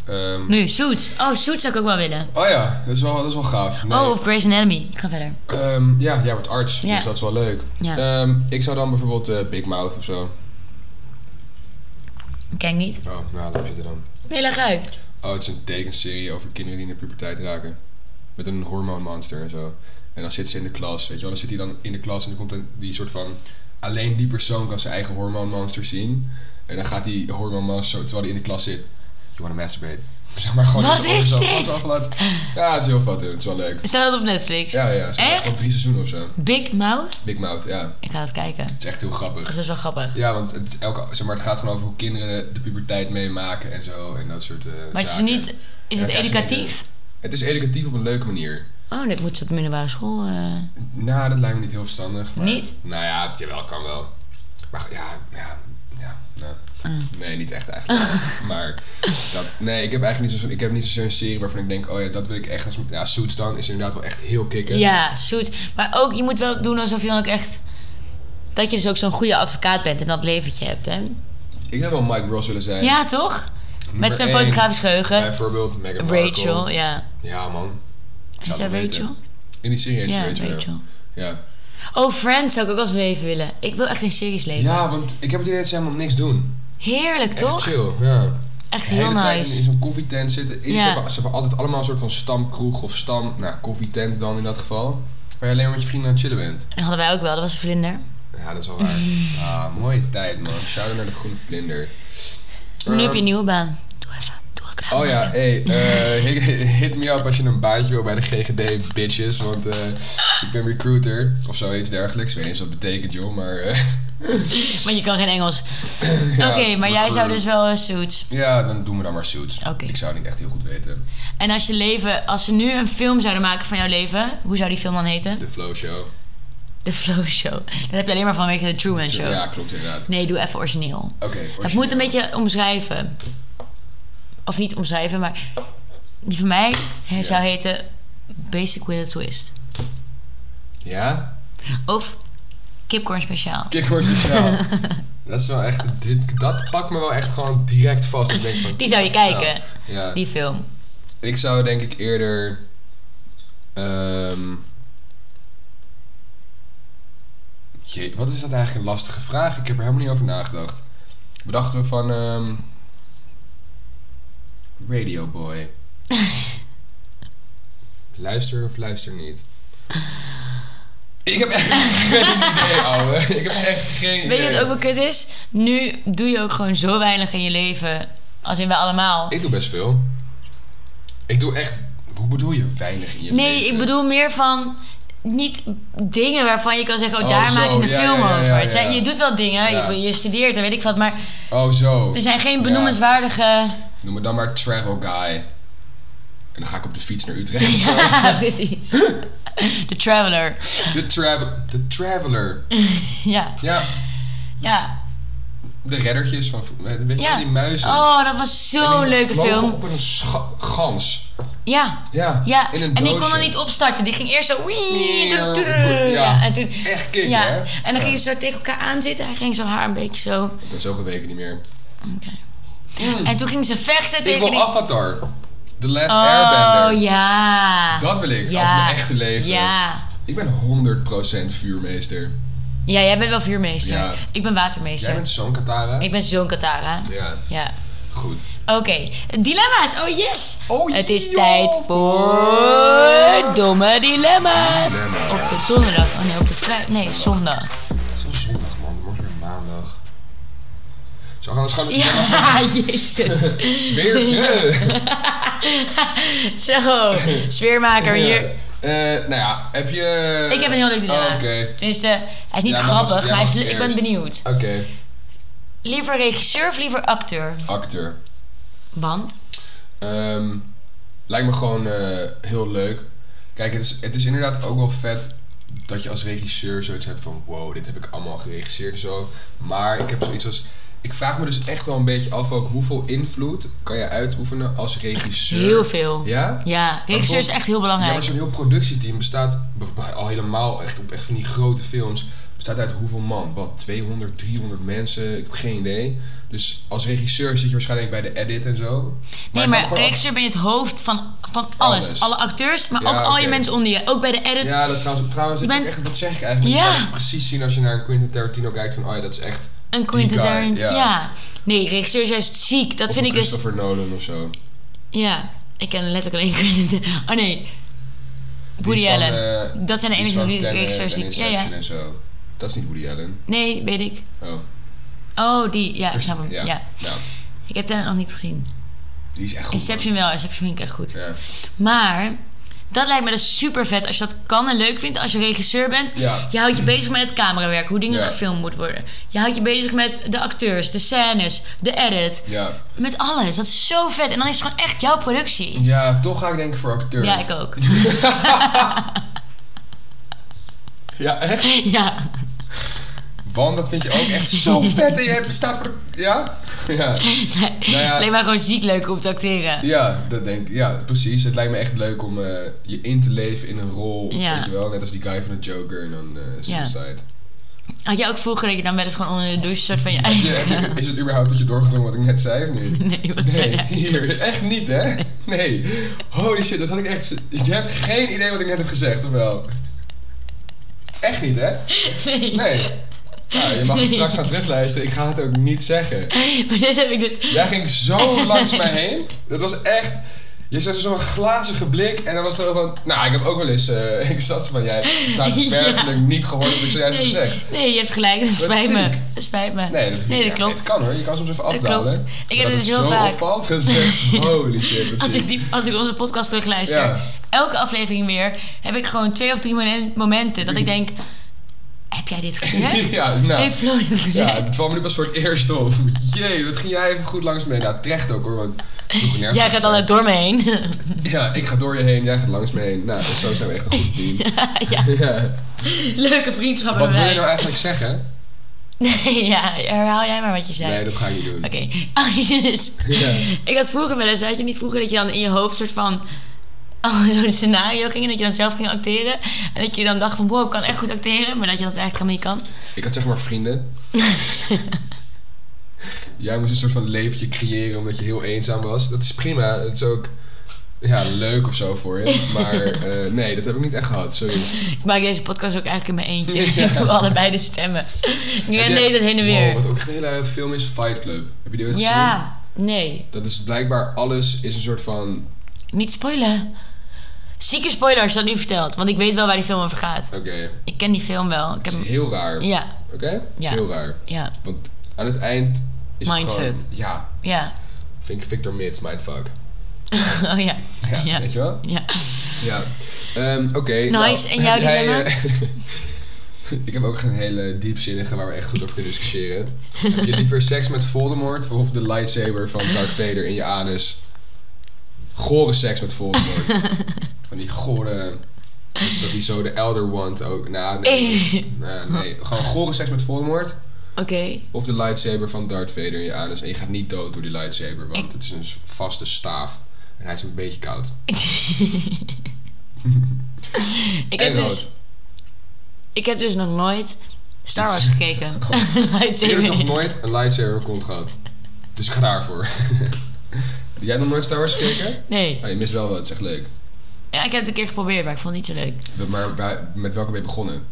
Speaker 1: ehm,
Speaker 2: Nu, Suits. Oh, Suits zou ik ook wel willen.
Speaker 1: Oh ja, dat is wel, dat is wel gaaf. Nee.
Speaker 2: Oh, of Grey's Anatomy. Ik ga verder.
Speaker 1: Ehm, ja, jij wordt arts,
Speaker 2: Ja.
Speaker 1: dus dat is wel leuk.
Speaker 2: Ja.
Speaker 1: Ehm, ik zou dan bijvoorbeeld eh, Big Mouth of zo.
Speaker 2: Kijk niet.
Speaker 1: Oh, nou, daar zit er dan.
Speaker 2: Nee, leg uit.
Speaker 1: Oh, het is een tekenserie over kinderen die in de puberteit raken. Met een hormoonmonster en zo. En dan zit ze in de klas, weet je wel. Dan zit hij dan in de klas en dan komt een, die soort van... Alleen die persoon kan zijn eigen hormoonmonster zien. En dan gaat die hormoonmonster, terwijl hij in de klas zit... You wanna masturbate? Zeg maar gewoon...
Speaker 2: Wat
Speaker 1: in zijn oren
Speaker 2: is
Speaker 1: zo,
Speaker 2: dit?
Speaker 1: wat aflaat. Ja, het is heel vat, het is wel leuk.
Speaker 2: Staat dat op Netflix?
Speaker 1: Ja, ja, het is
Speaker 2: Echt?
Speaker 1: al drie seizoenen of zo.
Speaker 2: Big Mouth?
Speaker 1: Big Mouth, ja.
Speaker 2: Ik ga dat kijken.
Speaker 1: Het is echt heel
Speaker 2: Dat
Speaker 1: grappig.
Speaker 2: is best wel grappig.
Speaker 1: Ja, want het, is elke, zeg maar, het gaat gewoon over hoe kinderen de puberteit meemaken en zo. En dat soort eh
Speaker 2: Maar het is
Speaker 1: zaken.
Speaker 2: niet...
Speaker 1: Ja,
Speaker 2: Is
Speaker 1: ik
Speaker 2: het
Speaker 1: heb geen
Speaker 2: educatief?
Speaker 1: Het is educatief op een leuke manier.
Speaker 2: Oh, dat moet ze op de middelbare school... eh.
Speaker 1: Nou, dat lijkt me niet heel verstandig. Maar,
Speaker 2: Niet?
Speaker 1: Nou ja, het- jawel, kan wel. Maar ja, ja, ja. ja.
Speaker 2: Mm.
Speaker 1: Nee, niet echt eigenlijk. maar dat, nee, ik heb eigenlijk niet, zo, ik heb niet zozeer een serie waarvan ik denk, oh ja, dat wil ik echt als... Ja, Suits dan is inderdaad wel echt heel kicken.
Speaker 2: Ja, zoet. Maar ook, je moet wel doen alsof je dan ook echt... Dat je dus ook zo'n goede advocaat bent en dat leventje hebt, hè?
Speaker 1: Ik zou wel Mike Ross willen zijn.
Speaker 2: Ja, toch?
Speaker 1: Nummer
Speaker 2: Met zijn
Speaker 1: één,
Speaker 2: fotografisch geheugen.
Speaker 1: Bijvoorbeeld Meghan Markle.
Speaker 2: Rachel, ja.
Speaker 1: Ja, man. Ik
Speaker 2: Is
Speaker 1: zou
Speaker 2: dat
Speaker 1: het weten.
Speaker 2: Rachel?
Speaker 1: In die serie heet ze
Speaker 2: Ja,
Speaker 1: Rachel. ja.
Speaker 2: Rachel.
Speaker 1: Ja.
Speaker 2: Oh, Friends zou ik ook als leven willen. Ik wil echt in series leven.
Speaker 1: ja, want ik heb het idee dat ze helemaal niks doen.
Speaker 2: Heerlijk,
Speaker 1: Echt
Speaker 2: toch?
Speaker 1: chill, ja.
Speaker 2: Echt
Speaker 1: de hele
Speaker 2: heel
Speaker 1: tijd in- in
Speaker 2: nice.
Speaker 1: zo'n koffietent zitten. Ze,
Speaker 2: Ja.
Speaker 1: hebben, ze hebben altijd allemaal een soort van stamkroeg of stam... Nou, koffietent dan in dat geval. Waar je alleen maar met je vrienden aan het chillen bent.
Speaker 2: En hadden wij ook wel, dat was een vlinder.
Speaker 1: Ja, dat is wel waar. ah, mooie tijd, man. Shout-out naar de groene vlinder.
Speaker 2: Maar nu heb je
Speaker 1: Ehm,
Speaker 2: een nieuwe baan. Doe even. Doe wat
Speaker 1: Oh ja, hey, eh, hit, hit me up als je een baantje wil bij de GGD, bitches. Want eh, ik ben recruiter of zoiets dergelijks. Ik weet niet eens wat dat betekent, joh, maar... eh,
Speaker 2: Want je kan geen Engels.
Speaker 1: ja,
Speaker 2: Oké, maar jij
Speaker 1: recruiter.
Speaker 2: zou dus wel eh, suits.
Speaker 1: Ja, dan doen we dan maar Suits.
Speaker 2: Oké.
Speaker 1: Ik zou niet echt heel goed weten.
Speaker 2: En als je leven, als ze nu een film zouden maken van jouw leven, hoe zou die film dan heten?
Speaker 1: De Flow Show.
Speaker 2: The Flow Show. Dat heb je alleen maar vanwege de Truman Show.
Speaker 1: Ja, klopt inderdaad.
Speaker 2: Nee, doe even origineel.
Speaker 1: Oké.
Speaker 2: Het moet
Speaker 1: origineel.
Speaker 2: een beetje omschrijven. Of niet omschrijven, maar die van mij hij
Speaker 1: Ja.
Speaker 2: zou heten Basic with a Twist.
Speaker 1: Ja?
Speaker 2: Of Kipcorn Speciaal.
Speaker 1: Kikhoorn speciaal. dat is wel echt... Dit, dat pakt me wel echt gewoon direct vast. Ik denk van,
Speaker 2: Die zou je kijken,
Speaker 1: ja.
Speaker 2: die film.
Speaker 1: Ik zou denk ik eerder. ehm jee, wat is dat eigenlijk een lastige vraag? Ik heb er helemaal niet over nagedacht. Bedachten we van. ehm Radio Boy. luister of luister niet? Ik heb echt geen idee, ouwe. Ik heb echt geen
Speaker 2: Weet
Speaker 1: idee.
Speaker 2: je wat ook wel kut is? Nu doe je ook gewoon zo weinig in je leven. Als in wij allemaal.
Speaker 1: Ik doe best veel. Ik doe echt. Hoe bedoel je weinig in je leven?
Speaker 2: Nee, ik bedoel meer van... Niet dingen waarvan je kan zeggen... Oh,
Speaker 1: Oh,
Speaker 2: daar
Speaker 1: zo.
Speaker 2: maak ik een
Speaker 1: Ja,
Speaker 2: film
Speaker 1: ja, ja,
Speaker 2: over.
Speaker 1: ja,
Speaker 2: Het zijn-
Speaker 1: ja.
Speaker 2: Je doet wel dingen.
Speaker 1: Ja.
Speaker 2: Je, je studeert en weet ik wat. Maar
Speaker 1: Oh, zo.
Speaker 2: er zijn geen
Speaker 1: Ja.
Speaker 2: benoemenswaardige...
Speaker 1: Noem me dan maar travel guy. En dan ga ik op de fiets naar Utrecht.
Speaker 2: Ja, precies. De Traveler.
Speaker 1: De, travel, de traveler.
Speaker 2: Ja,
Speaker 1: Ja,
Speaker 2: ja.
Speaker 1: de reddertjes van... eh, Weet je
Speaker 2: Ja.
Speaker 1: die muizen?
Speaker 2: Oh, dat was
Speaker 1: En
Speaker 2: zo'n
Speaker 1: die
Speaker 2: leuke
Speaker 1: vlogen
Speaker 2: film.
Speaker 1: op een scha- gans.
Speaker 2: Ja,
Speaker 1: Ja,
Speaker 2: ja.
Speaker 1: in een
Speaker 2: en die kon
Speaker 1: doosje.
Speaker 2: er niet opstarten. Die ging eerst zo... wii,
Speaker 1: Ja,
Speaker 2: doe, doe.
Speaker 1: ja.
Speaker 2: Ja, en toen...
Speaker 1: Echt kick,
Speaker 2: Ja,
Speaker 1: hè?
Speaker 2: en dan gingen ze zo tegen elkaar aanzitten. Hij ging zo haar een beetje zo...
Speaker 1: Ik ben zoveel weken niet meer.
Speaker 2: Oké.
Speaker 1: Mm.
Speaker 2: En toen gingen ze vechten
Speaker 1: Ik
Speaker 2: tegen
Speaker 1: wil
Speaker 2: die...
Speaker 1: Avatar. The Last
Speaker 2: Oh,
Speaker 1: Airbender.
Speaker 2: ja.
Speaker 1: Dat wil ik, als
Speaker 2: Ja.
Speaker 1: mijn echte leven.
Speaker 2: Ja.
Speaker 1: Ik ben 100% vuurmeester.
Speaker 2: Ja, jij bent wel vuurmeester.
Speaker 1: Ja.
Speaker 2: Ik ben watermeester.
Speaker 1: Jij bent zo'n Katara?
Speaker 2: Ik ben zo'n Katara.
Speaker 1: Ja,
Speaker 2: Ja.
Speaker 1: goed.
Speaker 2: Oké, dilemma's. Oh yes.
Speaker 1: Oh,
Speaker 2: Het is
Speaker 1: joh.
Speaker 2: tijd voor domme dilemma's.
Speaker 1: Dilemma's.
Speaker 2: Op de donderdag. Oh nee, op de vrijdag. Nee, zondag.
Speaker 1: Het is al zondag, man. Morgen weer maandag. Zo gaan we eens gaan met
Speaker 2: Ja, jezus.
Speaker 1: Sfeertje.
Speaker 2: Zo, sfeermaker hier.
Speaker 1: Eh, nou ja, heb je...
Speaker 2: Ik heb een heel leuk dilemma.
Speaker 1: Oh, Oké.
Speaker 2: Tenminste, hij is niet
Speaker 1: Ja, maar
Speaker 2: grappig,
Speaker 1: was- ja,
Speaker 2: maar hij is-
Speaker 1: was
Speaker 2: ik ben
Speaker 1: eerst.
Speaker 2: benieuwd.
Speaker 1: Oké,
Speaker 2: Liever regisseur of liever acteur?
Speaker 1: acteur.
Speaker 2: Want?
Speaker 1: Ehm, lijkt me gewoon eh, heel leuk. Kijk, het is, het is inderdaad ook wel vet dat je als regisseur zoiets hebt van... Wow, dit heb ik allemaal geregisseerd en zo. Maar ik heb zoiets als... Ik vraag me dus echt wel een beetje af ook hoeveel invloed kan je uitoefenen als regisseur.
Speaker 2: Heel veel.
Speaker 1: Ja?
Speaker 2: Ja, regisseur is echt heel
Speaker 1: Ja,
Speaker 2: belangrijk.
Speaker 1: maar zo'n heel productieteam bestaat b- b- al helemaal echt op echt van die grote films. Bestaat uit hoeveel man? Wat, 200, 300 mensen? Ik heb geen idee. Dus als regisseur zit je waarschijnlijk bij de edit en zo.
Speaker 2: Nee,
Speaker 1: ik
Speaker 2: maar
Speaker 1: kan gewoon
Speaker 2: regisseur ben je het hoofd van, van alles.
Speaker 1: Alles.
Speaker 2: Alle acteurs, maar
Speaker 1: Ja,
Speaker 2: ook al je
Speaker 1: oké.
Speaker 2: mensen onder je. Ook bij de
Speaker 1: af-
Speaker 2: edit.
Speaker 1: Ja, dat is trouwens, trouwens dat is ook
Speaker 2: bent-
Speaker 1: echt, wat zeg ik eigenlijk?
Speaker 2: Ja.
Speaker 1: Je kan het precies zien als je naar een Quentin Tarantino kijkt van, oh ja, dat is echt...
Speaker 2: Een Quentin
Speaker 1: guy,
Speaker 2: Tarantino.
Speaker 1: ja.
Speaker 2: Ja. Nee, regisseur is juist ziek. Dat
Speaker 1: of
Speaker 2: vind
Speaker 1: een
Speaker 2: ik dus...
Speaker 1: Christopher Nolan of zo. Die
Speaker 2: Ja, ik ken letterlijk alleen Quentin Tar- Oh nee,
Speaker 1: is
Speaker 2: Woody
Speaker 1: van,
Speaker 2: Allen.
Speaker 1: eh,
Speaker 2: dat zijn de
Speaker 1: die is
Speaker 2: enige
Speaker 1: van
Speaker 2: die
Speaker 1: Tenet
Speaker 2: regisseurs
Speaker 1: en
Speaker 2: die... Ja, ja.
Speaker 1: Inception en zo. Dat is niet Woody Allen.
Speaker 2: Nee, weet ik.
Speaker 1: Oh,
Speaker 2: Oh, die. Ja, ik snap hem. Ja.
Speaker 1: ja. Nou,
Speaker 2: Ik heb Tenet nog niet gezien.
Speaker 1: die is echt goed.
Speaker 2: Inception wel. Inception vind ik echt goed.
Speaker 1: Ja.
Speaker 2: Maar... Dat lijkt me dus super vet als je dat kan en leuk vindt. Als je regisseur bent,
Speaker 1: Ja.
Speaker 2: je houdt je bezig met het camerawerk, hoe dingen
Speaker 1: Ja.
Speaker 2: gefilmd moeten worden. Je houdt je bezig met de acteurs, de scènes, de edit.
Speaker 1: ja.
Speaker 2: Met alles. Dat is zo vet. En dan is het gewoon echt jouw productie.
Speaker 1: Ja, toch ga ik denken voor acteur.
Speaker 2: Ja, ik ook.
Speaker 1: Ja, echt?
Speaker 2: ja.
Speaker 1: Want dat vind je ook echt zo vet en je hebt- staat voor de... Ja? Ja, Nou ja.
Speaker 2: Alleen maar gewoon ziek leuk om te acteren.
Speaker 1: ja dat denk ik. Ja, precies. Het lijkt me echt leuk om eh, je in te leven in een rol.
Speaker 2: Ja.
Speaker 1: Weet je wel? Net als die guy van de Joker en dan eh, Suicide.
Speaker 2: Had jij ook vroeger dat je dan wel eens gewoon onder de douche soort van je
Speaker 1: Heb je-
Speaker 2: eigen...
Speaker 1: heb je- is het überhaupt dat je doorgedrongen wat ik net zei of niet?
Speaker 2: Nee, wat zei jij?
Speaker 1: hier. Echt niet, hè? Nee. Holy shit, dat had ik echt... Je hebt geen idee wat ik net heb gezegd, of wel? Echt niet, hè?
Speaker 2: Nee.
Speaker 1: Nee. Nou, je mag het
Speaker 2: Nee.
Speaker 1: straks gaan terugluisteren. Ik ga het ook niet zeggen.
Speaker 2: Maar dit heb ik dus...
Speaker 1: Jij ging zo langs mij heen. Dat was echt. Je zag zo'n glazige blik en dan was het ook van... Nou, ik heb ook wel eens... eh, ik zat van, jij hebt daadwerkelijk niet gehoord wat ik zojuist heb
Speaker 2: Nee,
Speaker 1: gezegd.
Speaker 2: nee, je hebt gelijk. Het spijt
Speaker 1: ziek.
Speaker 2: me. Het spijt me.
Speaker 1: Nee, dat,
Speaker 2: Nee, dat
Speaker 1: ja,
Speaker 2: klopt.
Speaker 1: Het kan hoor, je kan soms even
Speaker 2: Dat
Speaker 1: afdalen.
Speaker 2: klopt. Ik heb
Speaker 1: Maar
Speaker 2: dit
Speaker 1: dat
Speaker 2: heel
Speaker 1: zo
Speaker 2: vaak.
Speaker 1: opvalt, dat is echt, holy shit. wat
Speaker 2: Als
Speaker 1: ziek.
Speaker 2: ik, die, als ik onze podcast terugluister,
Speaker 1: Ja.
Speaker 2: elke aflevering weer, heb ik gewoon twee of drie momen- momenten dat ik denk: heb jij dit gezegd?
Speaker 1: Ja, nou.
Speaker 2: Heeft Flo dit
Speaker 1: Ja,
Speaker 2: gezegd?
Speaker 1: het kwam me nu pas voor het eerst op. Jee, wat ging jij even goed langs mee? Nou, terecht ook hoor, want... vroeger nergens
Speaker 2: jij gaat dan
Speaker 1: zijn.
Speaker 2: net door me heen.
Speaker 1: Ja, ik ga door je heen, jij gaat langs me heen. Nou, zo zijn we echt een goed team.
Speaker 2: ja,
Speaker 1: Ja.
Speaker 2: leuke vriendschap
Speaker 1: Wat
Speaker 2: hebben
Speaker 1: wil je
Speaker 2: wij.
Speaker 1: nou eigenlijk zeggen?
Speaker 2: Nee, ja, herhaal jij maar wat je zei.
Speaker 1: Nee, dat ga ik niet doen.
Speaker 2: Oké, oh, dus.
Speaker 1: Ja.
Speaker 2: Ik had vroeger wel eens, had je niet vroeger dat je dan in je hoofd soort van oh, zo'n scenario ging en dat je dan zelf ging acteren en dat je dan dacht van wow, ik kan echt goed acteren, maar dat je dat eigenlijk helemaal niet kan.
Speaker 1: Ik had zeg maar vrienden. Jij moest een soort van leventje creëren omdat je heel eenzaam was. Dat is prima. Het is ook ja, leuk of zo voor je. Maar eh, nee, dat heb ik niet echt gehad. Sorry.
Speaker 2: Ik maak deze podcast ook eigenlijk in mijn eentje.
Speaker 1: Ja.
Speaker 2: Ik doe allebei de stemmen.
Speaker 1: Heb
Speaker 2: Ik ren
Speaker 1: jij-
Speaker 2: deed het heen en weer.
Speaker 1: Wow, wat ook een hele film is, Fight Club. Heb je die ooit gezien?
Speaker 2: ja, nee.
Speaker 1: Dat is blijkbaar alles is een soort van...
Speaker 2: Niet spoilen. Zieke spoiler als je dat nu vertelt, want ik weet wel waar die film over gaat.
Speaker 1: Oké, het
Speaker 2: Ik ken die film wel. Ik heb
Speaker 1: is
Speaker 2: hem-
Speaker 1: heel raar.
Speaker 2: Ja,
Speaker 1: Oké? Het is
Speaker 2: Ja.
Speaker 1: heel raar.
Speaker 2: ja,
Speaker 1: Want aan het eind is het
Speaker 2: Mindfuck.
Speaker 1: gewoon... Ja,
Speaker 2: ja.
Speaker 1: vind ik Victor Mits, mindfuck.
Speaker 2: Oh ja.
Speaker 1: Ja,
Speaker 2: Ja.
Speaker 1: weet je wel?
Speaker 2: ja.
Speaker 1: Ja. Ehm, Oké.
Speaker 2: Nice. En jouw
Speaker 1: jij,
Speaker 2: dilemma?
Speaker 1: eh, ik heb ook geen hele diepzinnige waar we echt goed over kunnen discussiëren. heb je liever seks met Voldemort of de lightsaber van Darth Vader in je anus? Gore seks met Voldemort. van die gore... Dat hij zo de Elder Want ook... Nou,
Speaker 2: Eh.
Speaker 1: nee. Nou, nee. Gewoon gore seks met Voldemort
Speaker 2: Oké.
Speaker 1: of de lightsaber van Darth Vader in je anus. En je gaat niet dood door die lightsaber, want
Speaker 2: Ik-
Speaker 1: het is een vaste staaf. En hij is een beetje koud.
Speaker 2: ik
Speaker 1: En
Speaker 2: heb dus.
Speaker 1: rood.
Speaker 2: Ik heb dus nog nooit Star Wars
Speaker 1: Iets.
Speaker 2: gekeken.
Speaker 1: Ik heb
Speaker 2: Lightsaber.
Speaker 1: nog nooit een lightsaber kont gehad. Dus ga daarvoor. Jij hebt nog nooit Star Wars gekeken?
Speaker 2: Nee.
Speaker 1: Oh, je mist wel wat, het is echt leuk.
Speaker 2: Ja, ik heb het een keer geprobeerd, maar ik vond het niet zo leuk.
Speaker 1: Maar waar- met welke ben je begonnen?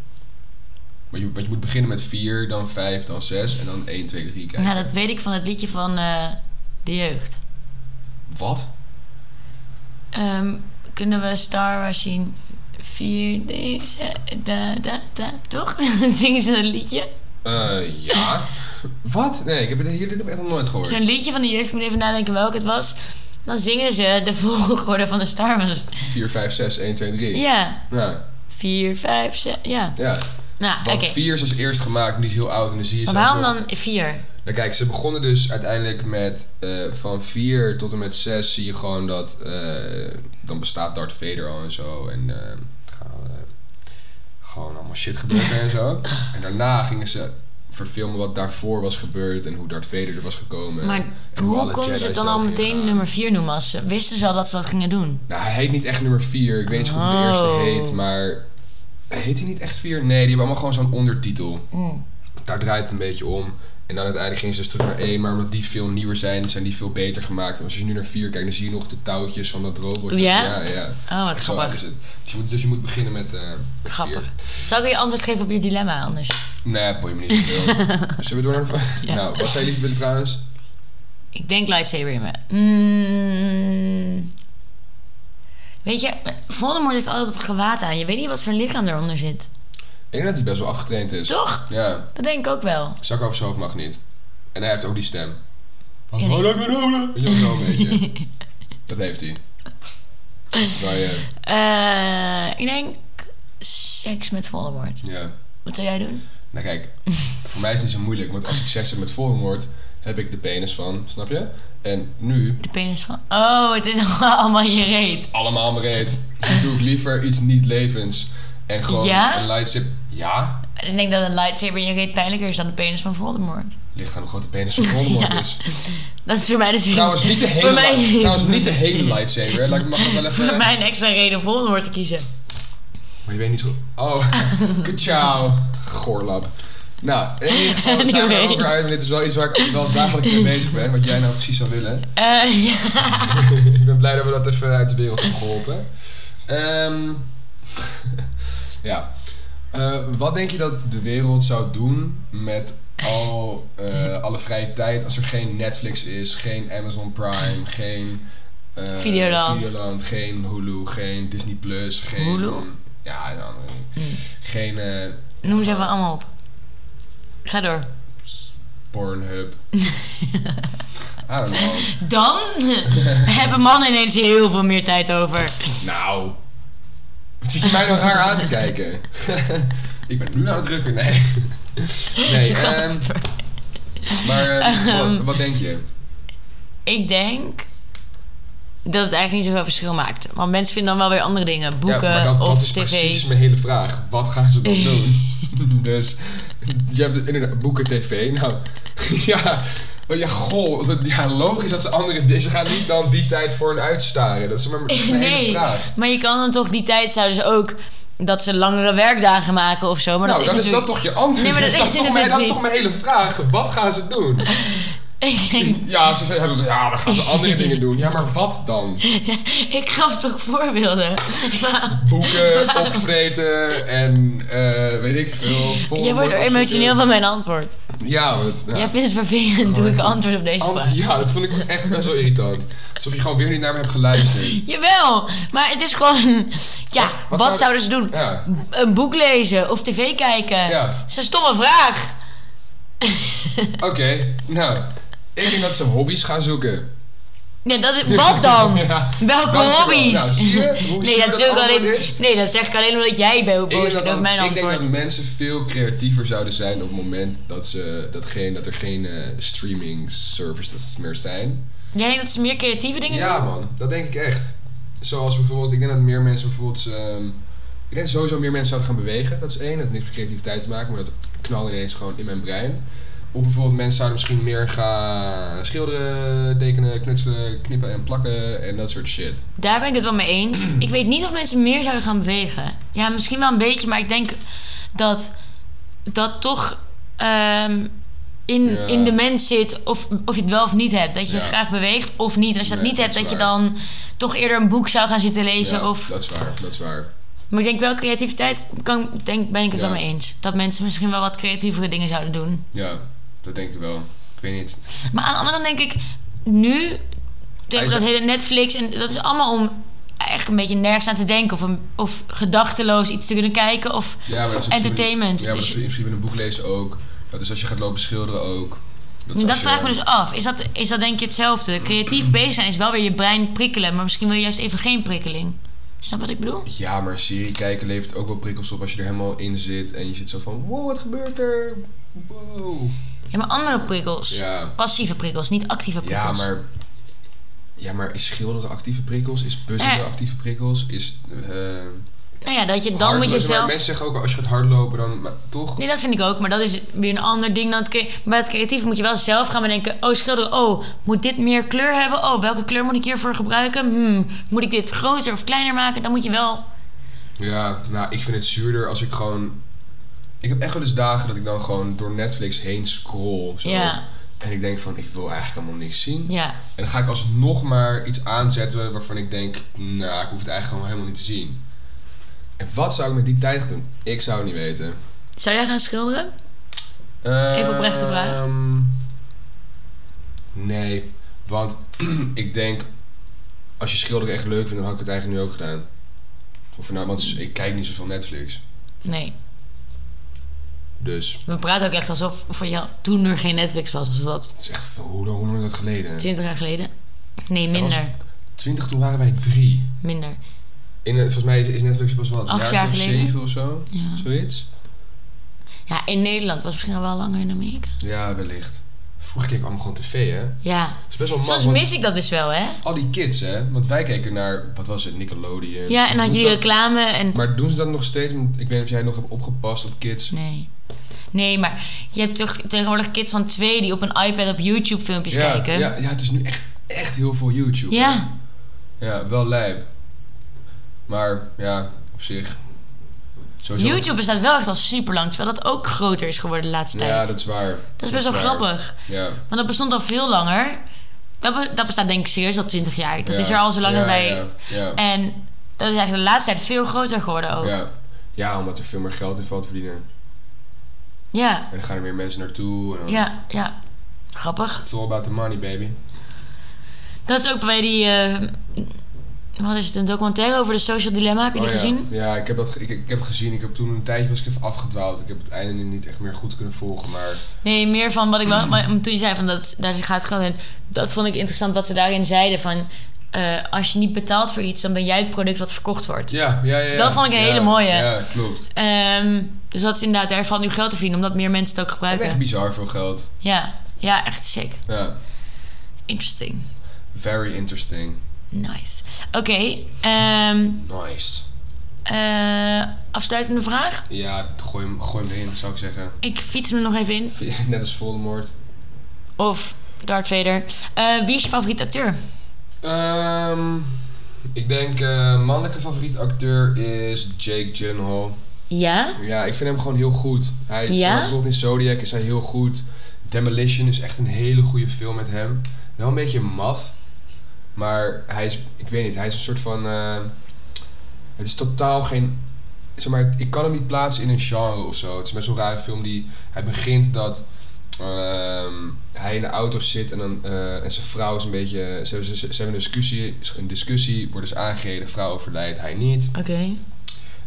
Speaker 1: Want je, want je moet beginnen met 4, dan 5, dan 6 en dan 1, 2, 3 kijken.
Speaker 2: Nou, dat weet ik van het liedje van eh, de jeugd.
Speaker 1: Wat?
Speaker 2: Ehm, kunnen we Star Wars zien? Vier deze, da, da, da, toch? Dan zingen ze dat liedje.
Speaker 1: Eh, ja. wat? Nee, ik heb het, hier, dit heb ik echt nog nooit gehoord.
Speaker 2: Zo'n liedje van de jeugd, ik moet even nadenken welke het was. Dan zingen ze de volgorde van de Star Wars.
Speaker 1: 4, 5, 6, 1, 2, 3.
Speaker 2: Ja,
Speaker 1: Ja,
Speaker 2: vier, vijf, zes, ja.
Speaker 1: Nou, ja.
Speaker 2: Nou, oké.
Speaker 1: Want 4 is als eerst gemaakt, die is heel oud en dan zie je
Speaker 2: Maar
Speaker 1: ze
Speaker 2: waarom
Speaker 1: alsnog.
Speaker 2: dan vier?
Speaker 1: Nou kijk, ze begonnen dus uiteindelijk met eh, van 4 tot en met 6 zie je gewoon dat eh, dan bestaat Darth Vader al en zo. En eh, er gaan, eh, gewoon allemaal shit gebeuren en zo. En daarna gingen ze verfilmen wat daarvoor was gebeurd en hoe Darth Vader er was gekomen.
Speaker 2: Maar
Speaker 1: en
Speaker 2: hoe
Speaker 1: alle
Speaker 2: konden ze
Speaker 1: Jedi's
Speaker 2: het dan
Speaker 1: dood
Speaker 2: al
Speaker 1: gingen
Speaker 2: meteen
Speaker 1: gaan.
Speaker 2: nummer 4 noemen als ze wisten ze al dat ze dat gingen doen?
Speaker 1: Nou, hij heet niet echt nummer 4. Ik weet niet zo goed hoe de eerste
Speaker 2: Oh.
Speaker 1: heet, maar... Heet hij niet echt 4? Nee, die hebben allemaal gewoon zo'n ondertitel. daar draait het een beetje om. En dan uiteindelijk gingen ze dus terug naar 1. Maar omdat die veel nieuwer zijn, zijn die veel beter gemaakt. En als je nu naar 4 kijkt, dan zie je nog de touwtjes van dat robot.
Speaker 2: Ja?
Speaker 1: Ja, ja.
Speaker 2: Oh, wat
Speaker 1: Echt zo
Speaker 2: grappig.
Speaker 1: is het. Dus je moet, dus je moet beginnen met, eh met
Speaker 2: Grappig.
Speaker 1: vier.
Speaker 2: Zal ik je antwoord geven op je dilemma anders?
Speaker 1: Nee, boeien me niet zoveel. Zullen we door naar... de vraag?
Speaker 2: Ja.
Speaker 1: Nou, wat zijn jullie willen trouwens?
Speaker 2: Ik denk lightsaber in me. Mm. Weet je, Voldemort heeft altijd het gewaad aan. Je weet niet wat voor lichaam eronder zit.
Speaker 1: Ik denk dat hij best wel afgetraind is.
Speaker 2: Toch?
Speaker 1: Ja,
Speaker 2: Dat denk ik ook wel.
Speaker 1: zakken over zijn hoofd mag niet. En hij heeft ook die stem.
Speaker 2: Ja, die-
Speaker 1: Oh, dat ik bedoel. Weet je wel, zo een beetje. Dat heeft hij. Maar ja,
Speaker 2: Eh, ik denk seks met Voldemort.
Speaker 1: ja.
Speaker 2: Wat zou jij doen?
Speaker 1: Nou kijk, voor mij is het niet zo moeilijk, want als ik seks heb met Voldemort, heb ik de penis van, snap je? En nu,
Speaker 2: De penis van... Oh, het is allemaal in je reet.
Speaker 1: allemaal breed. Dus doe ik liever iets niet levens. En gewoon
Speaker 2: Ja?
Speaker 1: een lightsaber. Ja,
Speaker 2: Ik denk dat een lightsaber in je reet pijnlijker is dan de penis van Voldemort.
Speaker 1: ligt aan hoe groot de penis van Voldemort
Speaker 2: Ja.
Speaker 1: is.
Speaker 2: Dat is voor mij dus weer...
Speaker 1: Trouwens niet, de hele
Speaker 2: Voor mij-
Speaker 1: li- trouwens, niet de hele lightsaber. Laat ik mag ik wel even...
Speaker 2: Voor mij een extra reden om Voldemort te kiezen.
Speaker 1: Maar je weet niet zo... Oh, ciao. Goorlab. Nou, in ieder geval zijn we er
Speaker 2: Anyway.
Speaker 1: ook weer uit. maar Dit is wel iets waar ik wel dagelijks mee bezig ben. Wat jij nou precies zou willen.
Speaker 2: Eh, ja.
Speaker 1: ik ben blij dat we dat even uit de wereld hebben geholpen. Ehm, ja. Eh, wat denk je dat de wereld zou doen met al, eh, alle vrije tijd als er geen Netflix is, geen Amazon Prime, geen eh,
Speaker 2: Videoland.
Speaker 1: Videoland, geen Hulu, geen Disney Plus, geen.
Speaker 2: Hulu?
Speaker 1: Ja, de andere.
Speaker 2: Mm.
Speaker 1: Geen eh,
Speaker 2: Noem ze even allemaal op. Ga door.
Speaker 1: Pornhub. I don't know.
Speaker 2: Dan hebben mannen ineens heel veel meer tijd over.
Speaker 1: Nou. Wat zit je mij nog raar aan te kijken? ik ben nu aan het drukken, nee. Nee, ehm,
Speaker 2: Gadver.
Speaker 1: maar eh,
Speaker 2: Ehm.
Speaker 1: wat, wat denk je?
Speaker 2: Ik denk dat het eigenlijk niet zoveel verschil maakt. Want mensen vinden dan wel weer andere dingen. Boeken
Speaker 1: ja, maar dat, dat
Speaker 2: of
Speaker 1: is
Speaker 2: tv.
Speaker 1: precies mijn hele vraag. Wat gaan ze dan doen? dus je hebt inderdaad boeken tv. Nou, ja, oh ja, goh, dat- ja, logisch dat ze andere dingen. Ze gaan niet dan die tijd voor een uitstaren. Dat is maar dat is mijn hele
Speaker 2: Nee,
Speaker 1: vraag.
Speaker 2: maar je kan dan toch die tijd zouden ze ook dat ze langere werkdagen maken of zo. Maar
Speaker 1: nou,
Speaker 2: dat
Speaker 1: dan
Speaker 2: is
Speaker 1: is dat
Speaker 2: natuurlijk...
Speaker 1: toch je antwoord.
Speaker 2: Nee, maar dat
Speaker 1: is, dat
Speaker 2: is
Speaker 1: toch
Speaker 2: het
Speaker 1: mijn,
Speaker 2: dus
Speaker 1: dat is
Speaker 2: niet.
Speaker 1: toch mijn hele vraag. Wat gaan ze doen?
Speaker 2: Ik denk,
Speaker 1: Ja, ze hebben, ja, dan gaan ze andere dingen doen. Ja, maar wat dan?
Speaker 2: ik gaf toch voorbeelden. Maar
Speaker 1: Boeken, opvreten en eh, weet ik veel.
Speaker 2: je wordt er emotioneel van mijn antwoord.
Speaker 1: Ja, maar, ja. Oh,
Speaker 2: Jij vindt het vervelend toen ik antwoord op deze
Speaker 1: Ant-
Speaker 2: vraag.
Speaker 1: ja, dat vond ik echt best wel irritant. Alsof je gewoon weer niet naar me hebt geluisterd.
Speaker 2: Jawel, maar het is gewoon... Ja, wat,
Speaker 1: wat zou-
Speaker 2: zouden ze doen?
Speaker 1: Ja,
Speaker 2: Een boek lezen of tv kijken?
Speaker 1: Ja.
Speaker 2: Dat is een stomme vraag.
Speaker 1: oké. Nou, ik denk dat ze hobby's gaan zoeken.
Speaker 2: Nee, dat is, wat dan?
Speaker 1: Ja,
Speaker 2: Welke
Speaker 1: dankjewel.
Speaker 2: hobby's?
Speaker 1: Nou, zie je hoe
Speaker 2: nee,
Speaker 1: zuur
Speaker 2: dat,
Speaker 1: dat
Speaker 2: zeg ik
Speaker 1: antwoord
Speaker 2: alleen,
Speaker 1: is?
Speaker 2: nee, dat zeg ik alleen omdat jij bij
Speaker 1: Ik denk, dat
Speaker 2: boos bent
Speaker 1: dan-
Speaker 2: over mijn
Speaker 1: ik denk
Speaker 2: antwoord.
Speaker 1: dat mensen veel creatiever zouden zijn op het moment dat, ze, dat, geen, dat er geen eh, streaming services meer zijn.
Speaker 2: Jij denkt dat ze meer creatieve dingen
Speaker 1: Ja,
Speaker 2: doen?
Speaker 1: man, dat denk ik echt. Zoals bijvoorbeeld, ik denk dat meer mensen bijvoorbeeld. ehm, ik denk dat sowieso meer mensen zouden gaan bewegen. Dat is één. Dat heeft niks met creativiteit te maken, maar dat knalde ineens gewoon in mijn brein. Of bijvoorbeeld, mensen zouden misschien meer gaan schilderen, tekenen, knutselen, knippen en plakken en dat soort shit.
Speaker 2: Daar ben ik het wel mee eens. ik weet niet of mensen meer zouden gaan bewegen. Ja, misschien wel een beetje, maar ik denk dat dat toch ehm, in,
Speaker 1: Ja.
Speaker 2: in de mens zit of, of je het wel of niet hebt. Dat je
Speaker 1: Ja.
Speaker 2: graag beweegt of niet. En als je dat
Speaker 1: Nee,
Speaker 2: niet
Speaker 1: dat
Speaker 2: hebt,
Speaker 1: is
Speaker 2: dat je
Speaker 1: waar.
Speaker 2: dan toch eerder een boek zou gaan zitten lezen.
Speaker 1: Ja,
Speaker 2: of,
Speaker 1: Dat is waar, dat is waar.
Speaker 2: maar ik denk wel creativiteit, kan, denk, ben ik het
Speaker 1: Ja.
Speaker 2: wel mee eens. Dat mensen misschien wel wat creatievere dingen zouden doen.
Speaker 1: Ja, dat denk ik wel. Ik weet niet.
Speaker 2: Maar aan de andere kant denk ik, nu
Speaker 1: Hij
Speaker 2: tegen
Speaker 1: is-
Speaker 2: dat hele Netflix en dat is allemaal om eigenlijk een beetje nergens aan te denken of, een, of gedachteloos iets te kunnen kijken of
Speaker 1: Ja, maar dat is in
Speaker 2: entertainment.
Speaker 1: principe- Ja, maar dat
Speaker 2: dus,
Speaker 1: is in principe in een boek lezen ook. Dat is als je gaat lopen schilderen ook. Dat, is
Speaker 2: dat
Speaker 1: als je-
Speaker 2: vraag ik me dus af. Is dat, is dat denk je hetzelfde? Creatief bezig zijn is wel weer je brein prikkelen, maar misschien wil je juist even geen prikkeling. Snap wat ik bedoel?
Speaker 1: Ja, maar een serie kijken levert ook wel prikkels op als je er helemaal in zit en je zit zo van, wow, wat gebeurt er? Wow.
Speaker 2: Ja, maar andere prikkels.
Speaker 1: Ja,
Speaker 2: Passieve prikkels, niet actieve
Speaker 1: ja,
Speaker 2: prikkels.
Speaker 1: maar, ja, maar is schilderen actieve prikkels? Is puzzelen
Speaker 2: Ja.
Speaker 1: actieve prikkels? Is, eh
Speaker 2: Nou ja, dat Eh. je dan
Speaker 1: hardlopen-
Speaker 2: moet
Speaker 1: Maar
Speaker 2: jezelf...
Speaker 1: mensen zeggen ook, als je gaat hardlopen, dan maar toch...
Speaker 2: Nee, dat vind ik ook, maar dat is weer een ander ding dan het creatief. Bij het creatief moet je wel zelf gaan bedenken: oh, schilderen, oh, moet dit meer kleur hebben? Oh, welke kleur moet ik hiervoor gebruiken? Hmm, moet ik dit groter of kleiner maken? Dan moet je wel.
Speaker 1: Ja, nou, ik vind het zuurder als ik gewoon... Ik heb echt wel eens dagen dat ik dan gewoon door Netflix heen scroll. Zo.
Speaker 2: Ja.
Speaker 1: En ik denk van, ik wil eigenlijk helemaal niks zien.
Speaker 2: Ja.
Speaker 1: En dan ga ik alsnog maar iets aanzetten waarvan ik denk, nou, ik hoef het eigenlijk gewoon helemaal niet te zien. En wat zou ik met die tijd gaan doen? Ik zou het niet weten.
Speaker 2: Zou jij gaan schilderen?
Speaker 1: Even
Speaker 2: oprechte vraag.
Speaker 1: Ehm, Nee, want ik denk, als je schilderen echt leuk vindt, dan had ik het eigenlijk nu ook gedaan. Of nou, want ik kijk niet zoveel Netflix.
Speaker 2: Nee.
Speaker 1: Dus
Speaker 2: We praten ook echt alsof voor jou toen er geen Netflix was of wat.
Speaker 1: het is echt, hoe lang, hoe lang is dat geleden?
Speaker 2: 20 jaar geleden? Nee,
Speaker 1: was-
Speaker 2: minder.
Speaker 1: Twintig, toen waren wij drie.
Speaker 2: Minder.
Speaker 1: In, eh, volgens mij is, is Netflix pas wat, een
Speaker 2: Acht jaar
Speaker 1: of
Speaker 2: geleden.
Speaker 1: zeven of zo,
Speaker 2: Ja.
Speaker 1: zoiets.
Speaker 2: ja, in Nederland was misschien al wel langer in Amerika.
Speaker 1: Ja, wellicht. Vroeger keek ik allemaal gewoon tv, hè? Dat
Speaker 2: Ja.
Speaker 1: is best wel
Speaker 2: Soms
Speaker 1: makkelijk.
Speaker 2: mis ik dat dus wel, hè?
Speaker 1: Al die kids, hè? Want wij keken naar, wat was het, Nickelodeon.
Speaker 2: Ja, en dan
Speaker 1: Doen
Speaker 2: had je die
Speaker 1: ze dat-
Speaker 2: reclame en.
Speaker 1: Maar doen ze dat nog steeds? Want Ik weet niet of jij nog hebt opgepast op kids.
Speaker 2: Nee. Nee, maar je hebt toch tegenwoordig kids van twee die op een iPad op YouTube filmpjes
Speaker 1: ja,
Speaker 2: kijken.
Speaker 1: Ja, ja, het is nu echt, echt heel veel YouTube.
Speaker 2: Ja.
Speaker 1: Ja, wel lijp. Maar ja, op zich. Sowieso-
Speaker 2: YouTube bestaat wel echt al super lang, terwijl dat ook groter is geworden de laatste
Speaker 1: Ja,
Speaker 2: tijd.
Speaker 1: dat is waar.
Speaker 2: dat is best wel
Speaker 1: waar.
Speaker 2: grappig,
Speaker 1: Ja.
Speaker 2: want dat bestond al veel langer. Dat, be- dat bestaat denk ik serieus al twintig jaar. Dat
Speaker 1: ja.
Speaker 2: is er al zo lang
Speaker 1: ja,
Speaker 2: dat wij...
Speaker 1: Ja, ja, ja.
Speaker 2: En dat is eigenlijk de laatste tijd veel groter geworden ook. Ja.
Speaker 1: ja. Ja, omdat er veel meer geld in valt te verdienen.
Speaker 2: Ja,
Speaker 1: En dan gaan er meer mensen naartoe. En dan...
Speaker 2: ja, Grappig.
Speaker 1: It's all about the money, baby.
Speaker 2: Dat is ook bij die. eh, wat is het, een documentaire over de social dilemma? Heb je die
Speaker 1: Oh ja.
Speaker 2: gezien?
Speaker 1: Ja, ik heb dat ge- ik, ik heb gezien. Ik heb toen een tijdje was ik even afgedwaald. Ik heb het einde niet echt meer goed kunnen volgen, maar
Speaker 2: Nee, meer van wat ik wel. Maar toen je zei van dat daar gaat gewoon in. Dat vond ik interessant wat ze daarin zeiden van. eh, als je niet betaalt voor iets, dan ben jij het product wat verkocht wordt.
Speaker 1: ja, ja, ja. ja.
Speaker 2: Dat vond ik een
Speaker 1: Ja,
Speaker 2: hele mooie.
Speaker 1: Ja, klopt.
Speaker 2: Ehm, dus dat is inderdaad, er valt nu geld te verdienen, omdat meer mensen het ook
Speaker 1: Dat is echt
Speaker 2: gebruiken.
Speaker 1: bizar veel geld.
Speaker 2: Ja, ja, echt sick.
Speaker 1: Ja,
Speaker 2: Interesting.
Speaker 1: very interesting.
Speaker 2: Nice. Oké, ehm,
Speaker 1: Nice.
Speaker 2: eh, afsluitende vraag.
Speaker 1: Ja, gooi hem, gooi hem erin, zou ik zeggen.
Speaker 2: Ik fiets hem er nog even in.
Speaker 1: Net als Voldemort.
Speaker 2: Of Darth Vader. Eh, wie is je favoriete acteur?
Speaker 1: Ehm, ik denk eh mannelijke favoriet acteur is Jake Gyllenhaal.
Speaker 2: Ja?
Speaker 1: Ja, ik vind hem gewoon heel goed. Hij
Speaker 2: Ja?
Speaker 1: ja? bijvoorbeeld in Zodiac is hij heel goed. Demolition is echt een hele goede film met hem. Wel een beetje maf. Maar hij is, ik weet niet, hij is een soort van. eh, het is totaal geen. Zeg maar, ik kan hem niet plaatsen in een genre of zo. Het is best wel een rare film die. Hij begint dat. ehm, hij in de auto zit en, dan, eh, en zijn vrouw is een beetje. Ze hebben, ze, ze hebben een discussie, een discussie, wordt dus aangereden, vrouw overlijdt, hij niet.
Speaker 2: Oké.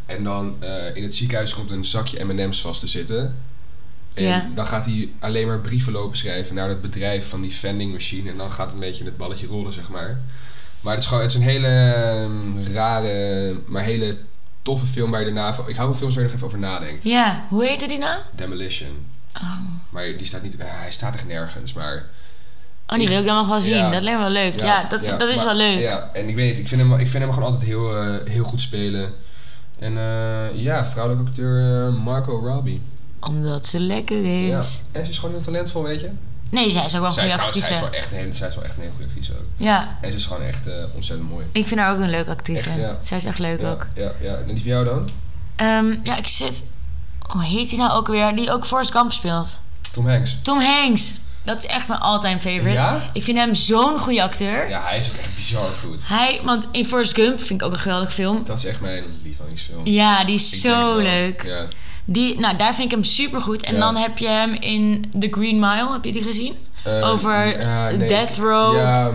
Speaker 1: En dan eh, in het ziekenhuis komt een zakje M&M's vast te zitten. En
Speaker 2: Ja.
Speaker 1: dan gaat hij alleen maar brieven lopen schrijven naar dat bedrijf van die vending machine. En dan gaat een beetje het balletje rollen, zeg maar. Maar het is gewoon, het is een hele ehm, rare, maar hele toffe film waar je daarna... Ik hou van films waar je nog even over nadenkt.
Speaker 2: Ja, hoe heette die nou?
Speaker 1: Demolition.
Speaker 2: Oh,
Speaker 1: Maar die staat niet, hij staat echt nergens, maar...
Speaker 2: Oh, die wil ik dan nog wel zien.
Speaker 1: Ja.
Speaker 2: Dat lijkt me wel leuk. Ja, dat,
Speaker 1: ja,
Speaker 2: dat is
Speaker 1: maar-
Speaker 2: wel leuk.
Speaker 1: Ja, en ik weet niet, ik vind hem, ik vind hem gewoon altijd heel, eh, heel goed spelen. En eh, ja, vrouwelijke acteur eh, Marco Robbie.
Speaker 2: Omdat ze lekker
Speaker 1: Ja.
Speaker 2: is.
Speaker 1: En ze is gewoon heel talentvol, weet je.
Speaker 2: Nee, zij is ook wel een
Speaker 1: Zij is,
Speaker 2: goede
Speaker 1: trouwens, zij is wel
Speaker 2: actrice.
Speaker 1: echt een hele, zij is wel echt een hele goede actrice ook.
Speaker 2: Ja,
Speaker 1: En ze is gewoon echt eh, ontzettend mooi.
Speaker 2: ik vind haar ook een leuke actrice.
Speaker 1: Echt, ja.
Speaker 2: Zij is echt leuk
Speaker 1: ja,
Speaker 2: ook.
Speaker 1: Ja, ja. En die van jou dan?
Speaker 2: Ehm, ja, ik zit... Hoe heet die nou ook weer? Die ook Forrest Gump speelt.
Speaker 1: Tom Hanks.
Speaker 2: Tom Hanks. Dat is echt mijn all-time favorite.
Speaker 1: Ja?
Speaker 2: Ik vind hem zo'n goede acteur.
Speaker 1: Ja, hij is ook echt bizar goed.
Speaker 2: Hij, want in Forrest Gump vind ik ook een geweldige film.
Speaker 1: Dat is echt mijn lievelingsfilm.
Speaker 2: Ja, die is
Speaker 1: Ik denk
Speaker 2: zo
Speaker 1: wel.
Speaker 2: leuk.
Speaker 1: Ja.
Speaker 2: Die, nou, daar vind ik hem super goed. En
Speaker 1: Ja.
Speaker 2: dan heb je hem in The Green Mile, heb je die gezien?
Speaker 1: Eh,
Speaker 2: Over
Speaker 1: ja, nee.
Speaker 2: Death Row.
Speaker 1: Ja,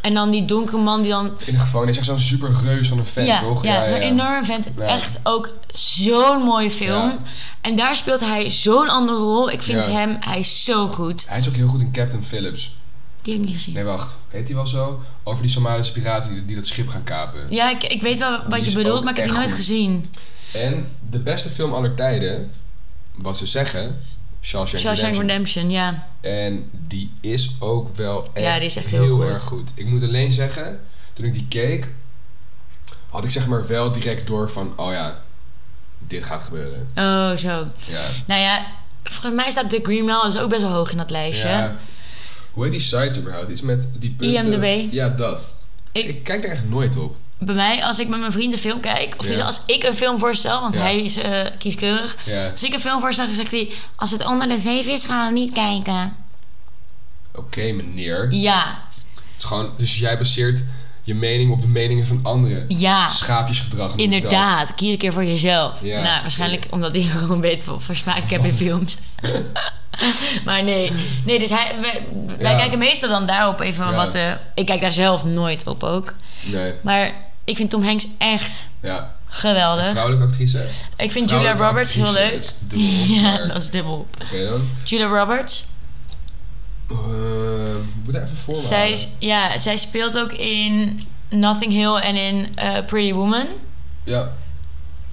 Speaker 2: En dan die donkere man die dan.
Speaker 1: in de gevangenis. Echt zo'n super reus van een fan,
Speaker 2: ja,
Speaker 1: toch?
Speaker 2: ja, zo'n enorm vent.
Speaker 1: Ja.
Speaker 2: Echt ook zo'n mooie film.
Speaker 1: Ja.
Speaker 2: En daar speelt hij zo'n andere rol. Ik vind
Speaker 1: Ja.
Speaker 2: hem, hij is zo goed.
Speaker 1: Hij is ook heel goed in Captain Phillips.
Speaker 2: Die heb ik niet gezien.
Speaker 1: Nee, wacht. Heet hij wel zo? Over die Somalische piraten die, die dat schip gaan kapen.
Speaker 2: Ja, ik, ik weet wel
Speaker 1: Die
Speaker 2: wat je
Speaker 1: is
Speaker 2: bedoelt,
Speaker 1: ook
Speaker 2: maar ik heb die
Speaker 1: echt
Speaker 2: nooit
Speaker 1: goed.
Speaker 2: gezien.
Speaker 1: En de beste film aller tijden, wat ze zeggen, Shawshank
Speaker 2: Shawshank
Speaker 1: Redemption.
Speaker 2: Redemption, ja.
Speaker 1: En die is ook wel echt
Speaker 2: Ja, die is echt heel goed.
Speaker 1: erg goed. Ik moet alleen zeggen, toen ik die keek, had ik zeg maar wel direct door van, oh ja, dit gaat gebeuren.
Speaker 2: Oh, zo.
Speaker 1: Ja.
Speaker 2: Nou ja, volgens mij staat The Green Mile dus ook best wel hoog in dat lijstje.
Speaker 1: ja. Hoe heet die site überhaupt? Iets met die punten.
Speaker 2: IMDb.
Speaker 1: Ja, dat.
Speaker 2: Ik-
Speaker 1: Ik, kijk daar echt nooit op.
Speaker 2: Bij mij, als ik met mijn vrienden film kijk, of
Speaker 1: Ja.
Speaker 2: dus als ik een film voorstel, want
Speaker 1: Ja.
Speaker 2: hij is eh, kieskeurig.
Speaker 1: Ja.
Speaker 2: Als ik een film voorstel, dan zegt hij: Als het onder de 7 is, gaan we niet kijken.
Speaker 1: Oké, meneer.
Speaker 2: Ja,
Speaker 1: Het is gewoon, dus jij baseert je mening op de meningen van anderen.
Speaker 2: ja,
Speaker 1: Schaapjesgedrag. noem ik dat.
Speaker 2: inderdaad. Kies een keer voor jezelf.
Speaker 1: Ja. Oh.
Speaker 2: nou, waarschijnlijk omdat ik gewoon weet wat voor smaak ik heb in films. maar nee, nee dus hij, wij, wij
Speaker 1: Ja.
Speaker 2: kijken meestal dan daarop even
Speaker 1: Ja.
Speaker 2: wat. eh, ik kijk daar zelf nooit op ook.
Speaker 1: Nee,
Speaker 2: Maar ik vind Tom Hanks echt
Speaker 1: ja.
Speaker 2: geweldig.
Speaker 1: Vrouwelijke actrice.
Speaker 2: ik vind Julia
Speaker 1: vrouwelijke
Speaker 2: Roberts heel
Speaker 1: actrice
Speaker 2: leuk.
Speaker 1: is dubbel,
Speaker 2: Ja,
Speaker 1: maar-
Speaker 2: dat is dubbel.
Speaker 1: Oké dan.
Speaker 2: Julia Roberts.
Speaker 1: Eh, ik moet daar even voor
Speaker 2: Zij, is- ja, zij speelt ook in Nothing Hill en in eh, Pretty Woman.
Speaker 1: Ja,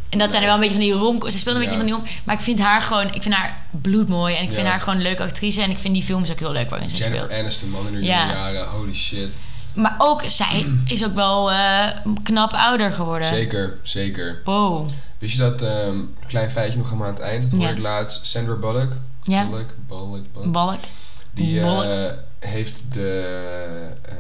Speaker 2: En dat zijn er wel een beetje van die rom... Ze speelt een beetje
Speaker 1: Ja.
Speaker 2: van die rom... Maar ik vind haar gewoon... Ik vind haar bloedmooi. En ik vind
Speaker 1: Ja.
Speaker 2: haar gewoon een leuke actrice. En ik vind die films ook heel leuk waarin ze
Speaker 1: Jennifer
Speaker 2: speelt.
Speaker 1: Aniston, man in haar
Speaker 2: Ja.
Speaker 1: jonge jaren. Holy shit.
Speaker 2: Maar ook zij is ook wel eh, knap ouder geworden.
Speaker 1: Mm. Zeker, zeker.
Speaker 2: Wow.
Speaker 1: Wist je dat, ehm, klein feitje nog helemaal aan het eind, dat hoorde
Speaker 2: Ja.
Speaker 1: ik laatst, Sandra Bullock,
Speaker 2: Ja.
Speaker 1: Bullock, Bullock, Bullock.
Speaker 2: Balk. Oh,
Speaker 1: die eh,
Speaker 2: Bullock.
Speaker 1: heeft de eh,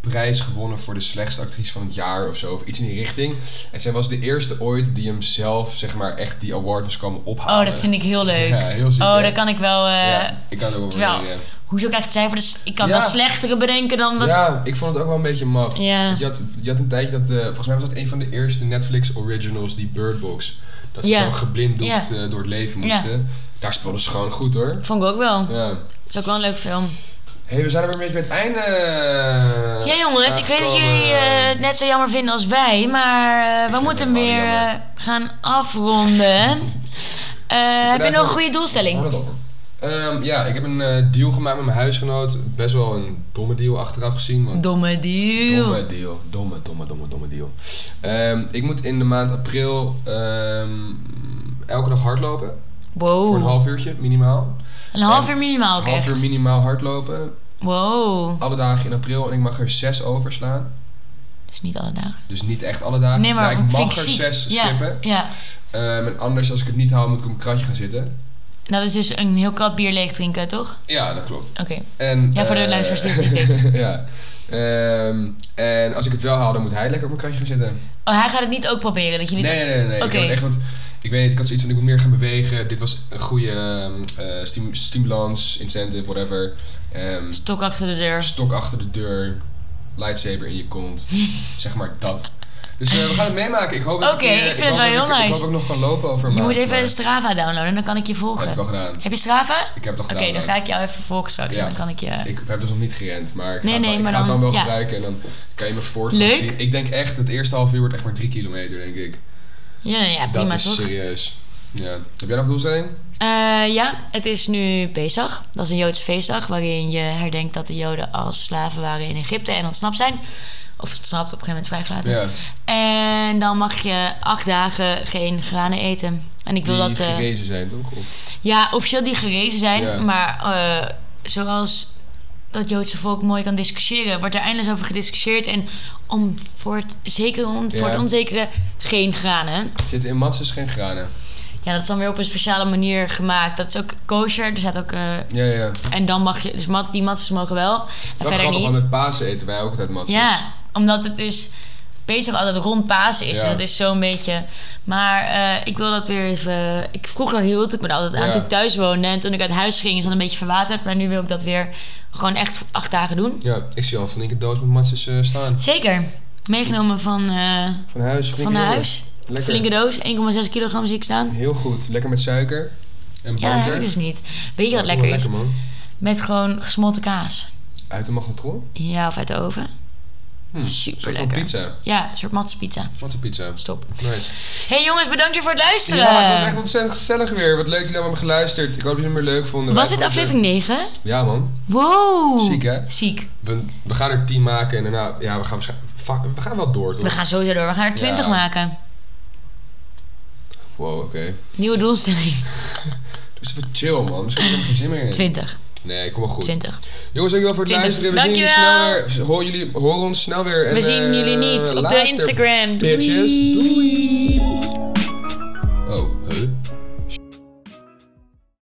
Speaker 1: prijs gewonnen voor de slechtste actrice van het jaar of zo, of iets in die richting. En zij was de eerste ooit die hem zelf, zeg maar, echt die award was komen
Speaker 2: Oh,
Speaker 1: ophalen.
Speaker 2: dat vind ik heel leuk.
Speaker 1: Ja, heel ziek,
Speaker 2: oh,
Speaker 1: hè?
Speaker 2: daar kan ik wel... eh,
Speaker 1: Ja, ik kan het ook wel
Speaker 2: terwijl-
Speaker 1: waarderen.
Speaker 2: Hoezo krijgt zij voor de... s- Ik kan
Speaker 1: Ja.
Speaker 2: wel slechtere bedenken dan... Dat...
Speaker 1: Ja, ik vond het ook wel een beetje maf.
Speaker 2: Ja.
Speaker 1: Want Je, had, je had een tijdje dat, eh, volgens mij was dat een van de eerste Netflix originals, die Bird Box. Dat ze
Speaker 2: Ja.
Speaker 1: zo geblinddoekt
Speaker 2: Ja.
Speaker 1: eh, door het leven
Speaker 2: Ja.
Speaker 1: moesten. Daar speelden ze gewoon goed hoor.
Speaker 2: Vond ik ook wel.
Speaker 1: Ja.
Speaker 2: Het is ook wel een leuke film.
Speaker 1: hey, we zijn er weer een beetje bij het einde.
Speaker 2: Ja jongens, ik weet dat
Speaker 1: aangekomen.
Speaker 2: jullie eh, het net zo jammer vinden als wij, maar eh, we
Speaker 1: vind
Speaker 2: moeten
Speaker 1: het wel
Speaker 2: weer
Speaker 1: jammer.
Speaker 2: eh, gaan afronden. Eh, heb je
Speaker 1: daar
Speaker 2: nog een
Speaker 1: nog-
Speaker 2: goede doelstelling?
Speaker 1: Hoor dat op. Ehm, ja, ik heb een eh, deal gemaakt met mijn huisgenoot. Best wel een domme deal achteraf gezien. Want
Speaker 2: Domme deal.
Speaker 1: Domme deal. Domme, domme, domme, domme deal. Ehm, ik moet in de maand april ehm, elke dag hardlopen. Voor een
Speaker 2: Wow.
Speaker 1: half uurtje minimaal.
Speaker 2: Een half uur minimaal ook
Speaker 1: Een half
Speaker 2: echt.
Speaker 1: uur minimaal hardlopen.
Speaker 2: Wow.
Speaker 1: Alle dagen in april. En ik mag er zes overslaan.
Speaker 2: Dat is niet alle dagen.
Speaker 1: Dus niet echt alle dagen.
Speaker 2: Nee, maar
Speaker 1: ik mag
Speaker 2: vind ik
Speaker 1: er
Speaker 2: ziek.
Speaker 1: zes
Speaker 2: ja,
Speaker 1: skippen.
Speaker 2: Ja.
Speaker 1: Ehm, en anders, als ik het niet hou, moet ik op een kratje gaan zitten.
Speaker 2: En Dat is dus een heel krat bier leeg drinken, toch?
Speaker 1: Ja, dat klopt.
Speaker 2: Oké.
Speaker 1: En,
Speaker 2: Ja, voor de
Speaker 1: eh,
Speaker 2: luisteraars die het niet
Speaker 1: ja. Ehm, en als ik het wel haal, dan moet hij lekker op mijn kratje gaan zitten.
Speaker 2: Oh, hij gaat het niet ook proberen, dat je
Speaker 1: Nee,
Speaker 2: niet...
Speaker 1: nee, nee. nee. Ik,
Speaker 2: Oké.
Speaker 1: heb het echt, want, ik weet niet, ik had zoiets van ik moet meer gaan bewegen. Dit was een goede ehm, eh, stim- stimulans, incentive, whatever. Ehm,
Speaker 2: Stok achter de deur.
Speaker 1: stok achter de deur, lightsaber in je kont. zeg maar dat. Dus eh, we gaan het meemaken. Ik hoop dat
Speaker 2: Oké,
Speaker 1: eh,
Speaker 2: ik vind het
Speaker 1: hoop
Speaker 2: wel
Speaker 1: dat
Speaker 2: heel
Speaker 1: ik- Ik
Speaker 2: nice.
Speaker 1: hoop ook nog gaan lopen over een
Speaker 2: Je moet
Speaker 1: maand, maar-
Speaker 2: even Strava downloaden, dan kan ik je
Speaker 1: Dat heb
Speaker 2: volgen.
Speaker 1: ik al gedaan.
Speaker 2: Heb je Strava?
Speaker 1: Ik heb het al
Speaker 2: Oké,
Speaker 1: gedaan.
Speaker 2: dan ga ik jou even volgen straks.
Speaker 1: Ja.
Speaker 2: en Dan kan ik je...
Speaker 1: Ik heb dus nog niet gerend, maar ik ga,
Speaker 2: Nee,
Speaker 1: het wel-
Speaker 2: nee,
Speaker 1: ik
Speaker 2: maar
Speaker 1: ga het dan
Speaker 2: dan-
Speaker 1: wel
Speaker 2: ja.
Speaker 1: gebruiken en dan kan je mijn voorstand
Speaker 2: Leuk.
Speaker 1: zien. Ik denk echt, het eerste half uur wordt echt maar drie kilometer, denk ik.
Speaker 2: Ja, ja prima
Speaker 1: Dat is eh,
Speaker 2: toch?
Speaker 1: serieus. Ja. Heb jij nog een doelstelling?
Speaker 2: Eh, ja, het is nu Pesach. Dat is een Joodse feestdag waarin je herdenkt dat de Joden als slaven waren in Egypte en ontsnapt zijn. Of ontsnapt, op een gegeven moment vrijgelaten.
Speaker 1: Ja.
Speaker 2: En dan mag je acht dagen geen granen eten. En ik wil
Speaker 1: Die
Speaker 2: dat... eh,
Speaker 1: gerezen zijn, toch? Of-
Speaker 2: ja, officieel die gerezen zijn.
Speaker 1: Ja.
Speaker 2: Maar eh, zoals dat Joodse volk mooi kan discussiëren... wordt er eindeloos over gediscussieerd. En om voor het, zeker, om, voor
Speaker 1: Ja.
Speaker 2: het onzekere geen granen.
Speaker 1: Zitten in matses geen granen.
Speaker 2: Ja, dat is dan weer op een speciale manier gemaakt. Dat is ook kosher. Er staat ook... eh,
Speaker 1: Ja, ja.
Speaker 2: en dan mag je... Dus mat, die matzes mogen wel. En
Speaker 1: Dat
Speaker 2: verder
Speaker 1: grappig, want
Speaker 2: niet.
Speaker 1: met Pasen eten wij ook altijd matses.
Speaker 2: Ja, omdat het dus... Bezig altijd rond Pasen is.
Speaker 1: Ja.
Speaker 2: Dus dat is zo'n beetje. Maar eh, ik wil dat weer even. Ik, vroeger hield ik me er altijd aan
Speaker 1: Ja.
Speaker 2: toen ik thuis woonde. En toen ik uit huis ging, is dat een beetje verwaterd. Maar nu wil ik dat weer gewoon echt acht dagen doen.
Speaker 1: Ja, ik zie al een flinke doos met matses eh, staan.
Speaker 2: Zeker. Meegenomen van, eh,
Speaker 1: Van huis, flinke
Speaker 2: van
Speaker 1: doos.
Speaker 2: huis.
Speaker 1: Lekker.
Speaker 2: Flinke doos. 1,6 kilogram zie ik staan.
Speaker 1: Heel goed. Lekker met suiker. En
Speaker 2: Ja, dat
Speaker 1: boter.
Speaker 2: heb ik dus niet. Weet je
Speaker 1: Ja,
Speaker 2: wat lekker is?
Speaker 1: lekker man.
Speaker 2: Met gewoon gesmolten kaas.
Speaker 1: Uit de magnetron.
Speaker 2: Ja, of uit de oven.
Speaker 1: Hm.
Speaker 2: Super
Speaker 1: Een soort van
Speaker 2: lekker.
Speaker 1: pizza.
Speaker 2: Ja, een soort matspizza.
Speaker 1: Wat een pizza.
Speaker 2: Stop.
Speaker 1: Nice.
Speaker 2: Hey jongens, bedankt weer voor het luisteren.
Speaker 1: Ja, het was echt ontzettend gezellig weer. Wat leuk dat jullie allemaal hebben geluisterd. Ik hoop dat jullie het weer leuk vonden.
Speaker 2: Was
Speaker 1: Wij
Speaker 2: dit
Speaker 1: vonden-
Speaker 2: aflevering 9?
Speaker 1: Ja man.
Speaker 2: Wow.
Speaker 1: Ziek, hè?
Speaker 2: Ziek.
Speaker 1: We, we gaan er 10 maken en daarna... Ja, we gaan waarschijnlijk... fuck, We gaan wel door, toch?
Speaker 2: We gaan sowieso door. We gaan er 20
Speaker 1: Ja.
Speaker 2: maken.
Speaker 1: Wow, oké.
Speaker 2: Nieuwe doelstelling.
Speaker 1: Dus even chill, man. Misschien heb ik er geen zin meer in.
Speaker 2: 20.
Speaker 1: Nee, kom maar goed.
Speaker 2: 20.
Speaker 1: Jongens, dankjewel voor het
Speaker 2: 20.
Speaker 1: luisteren. We zien
Speaker 2: Dankjewel.
Speaker 1: jullie snel weer. Hoor jullie, horen ons snel weer. En,
Speaker 2: We zien
Speaker 1: eh,
Speaker 2: jullie niet op de
Speaker 1: later,
Speaker 2: Instagram. Doei.
Speaker 1: Bitches. Doei. Oh,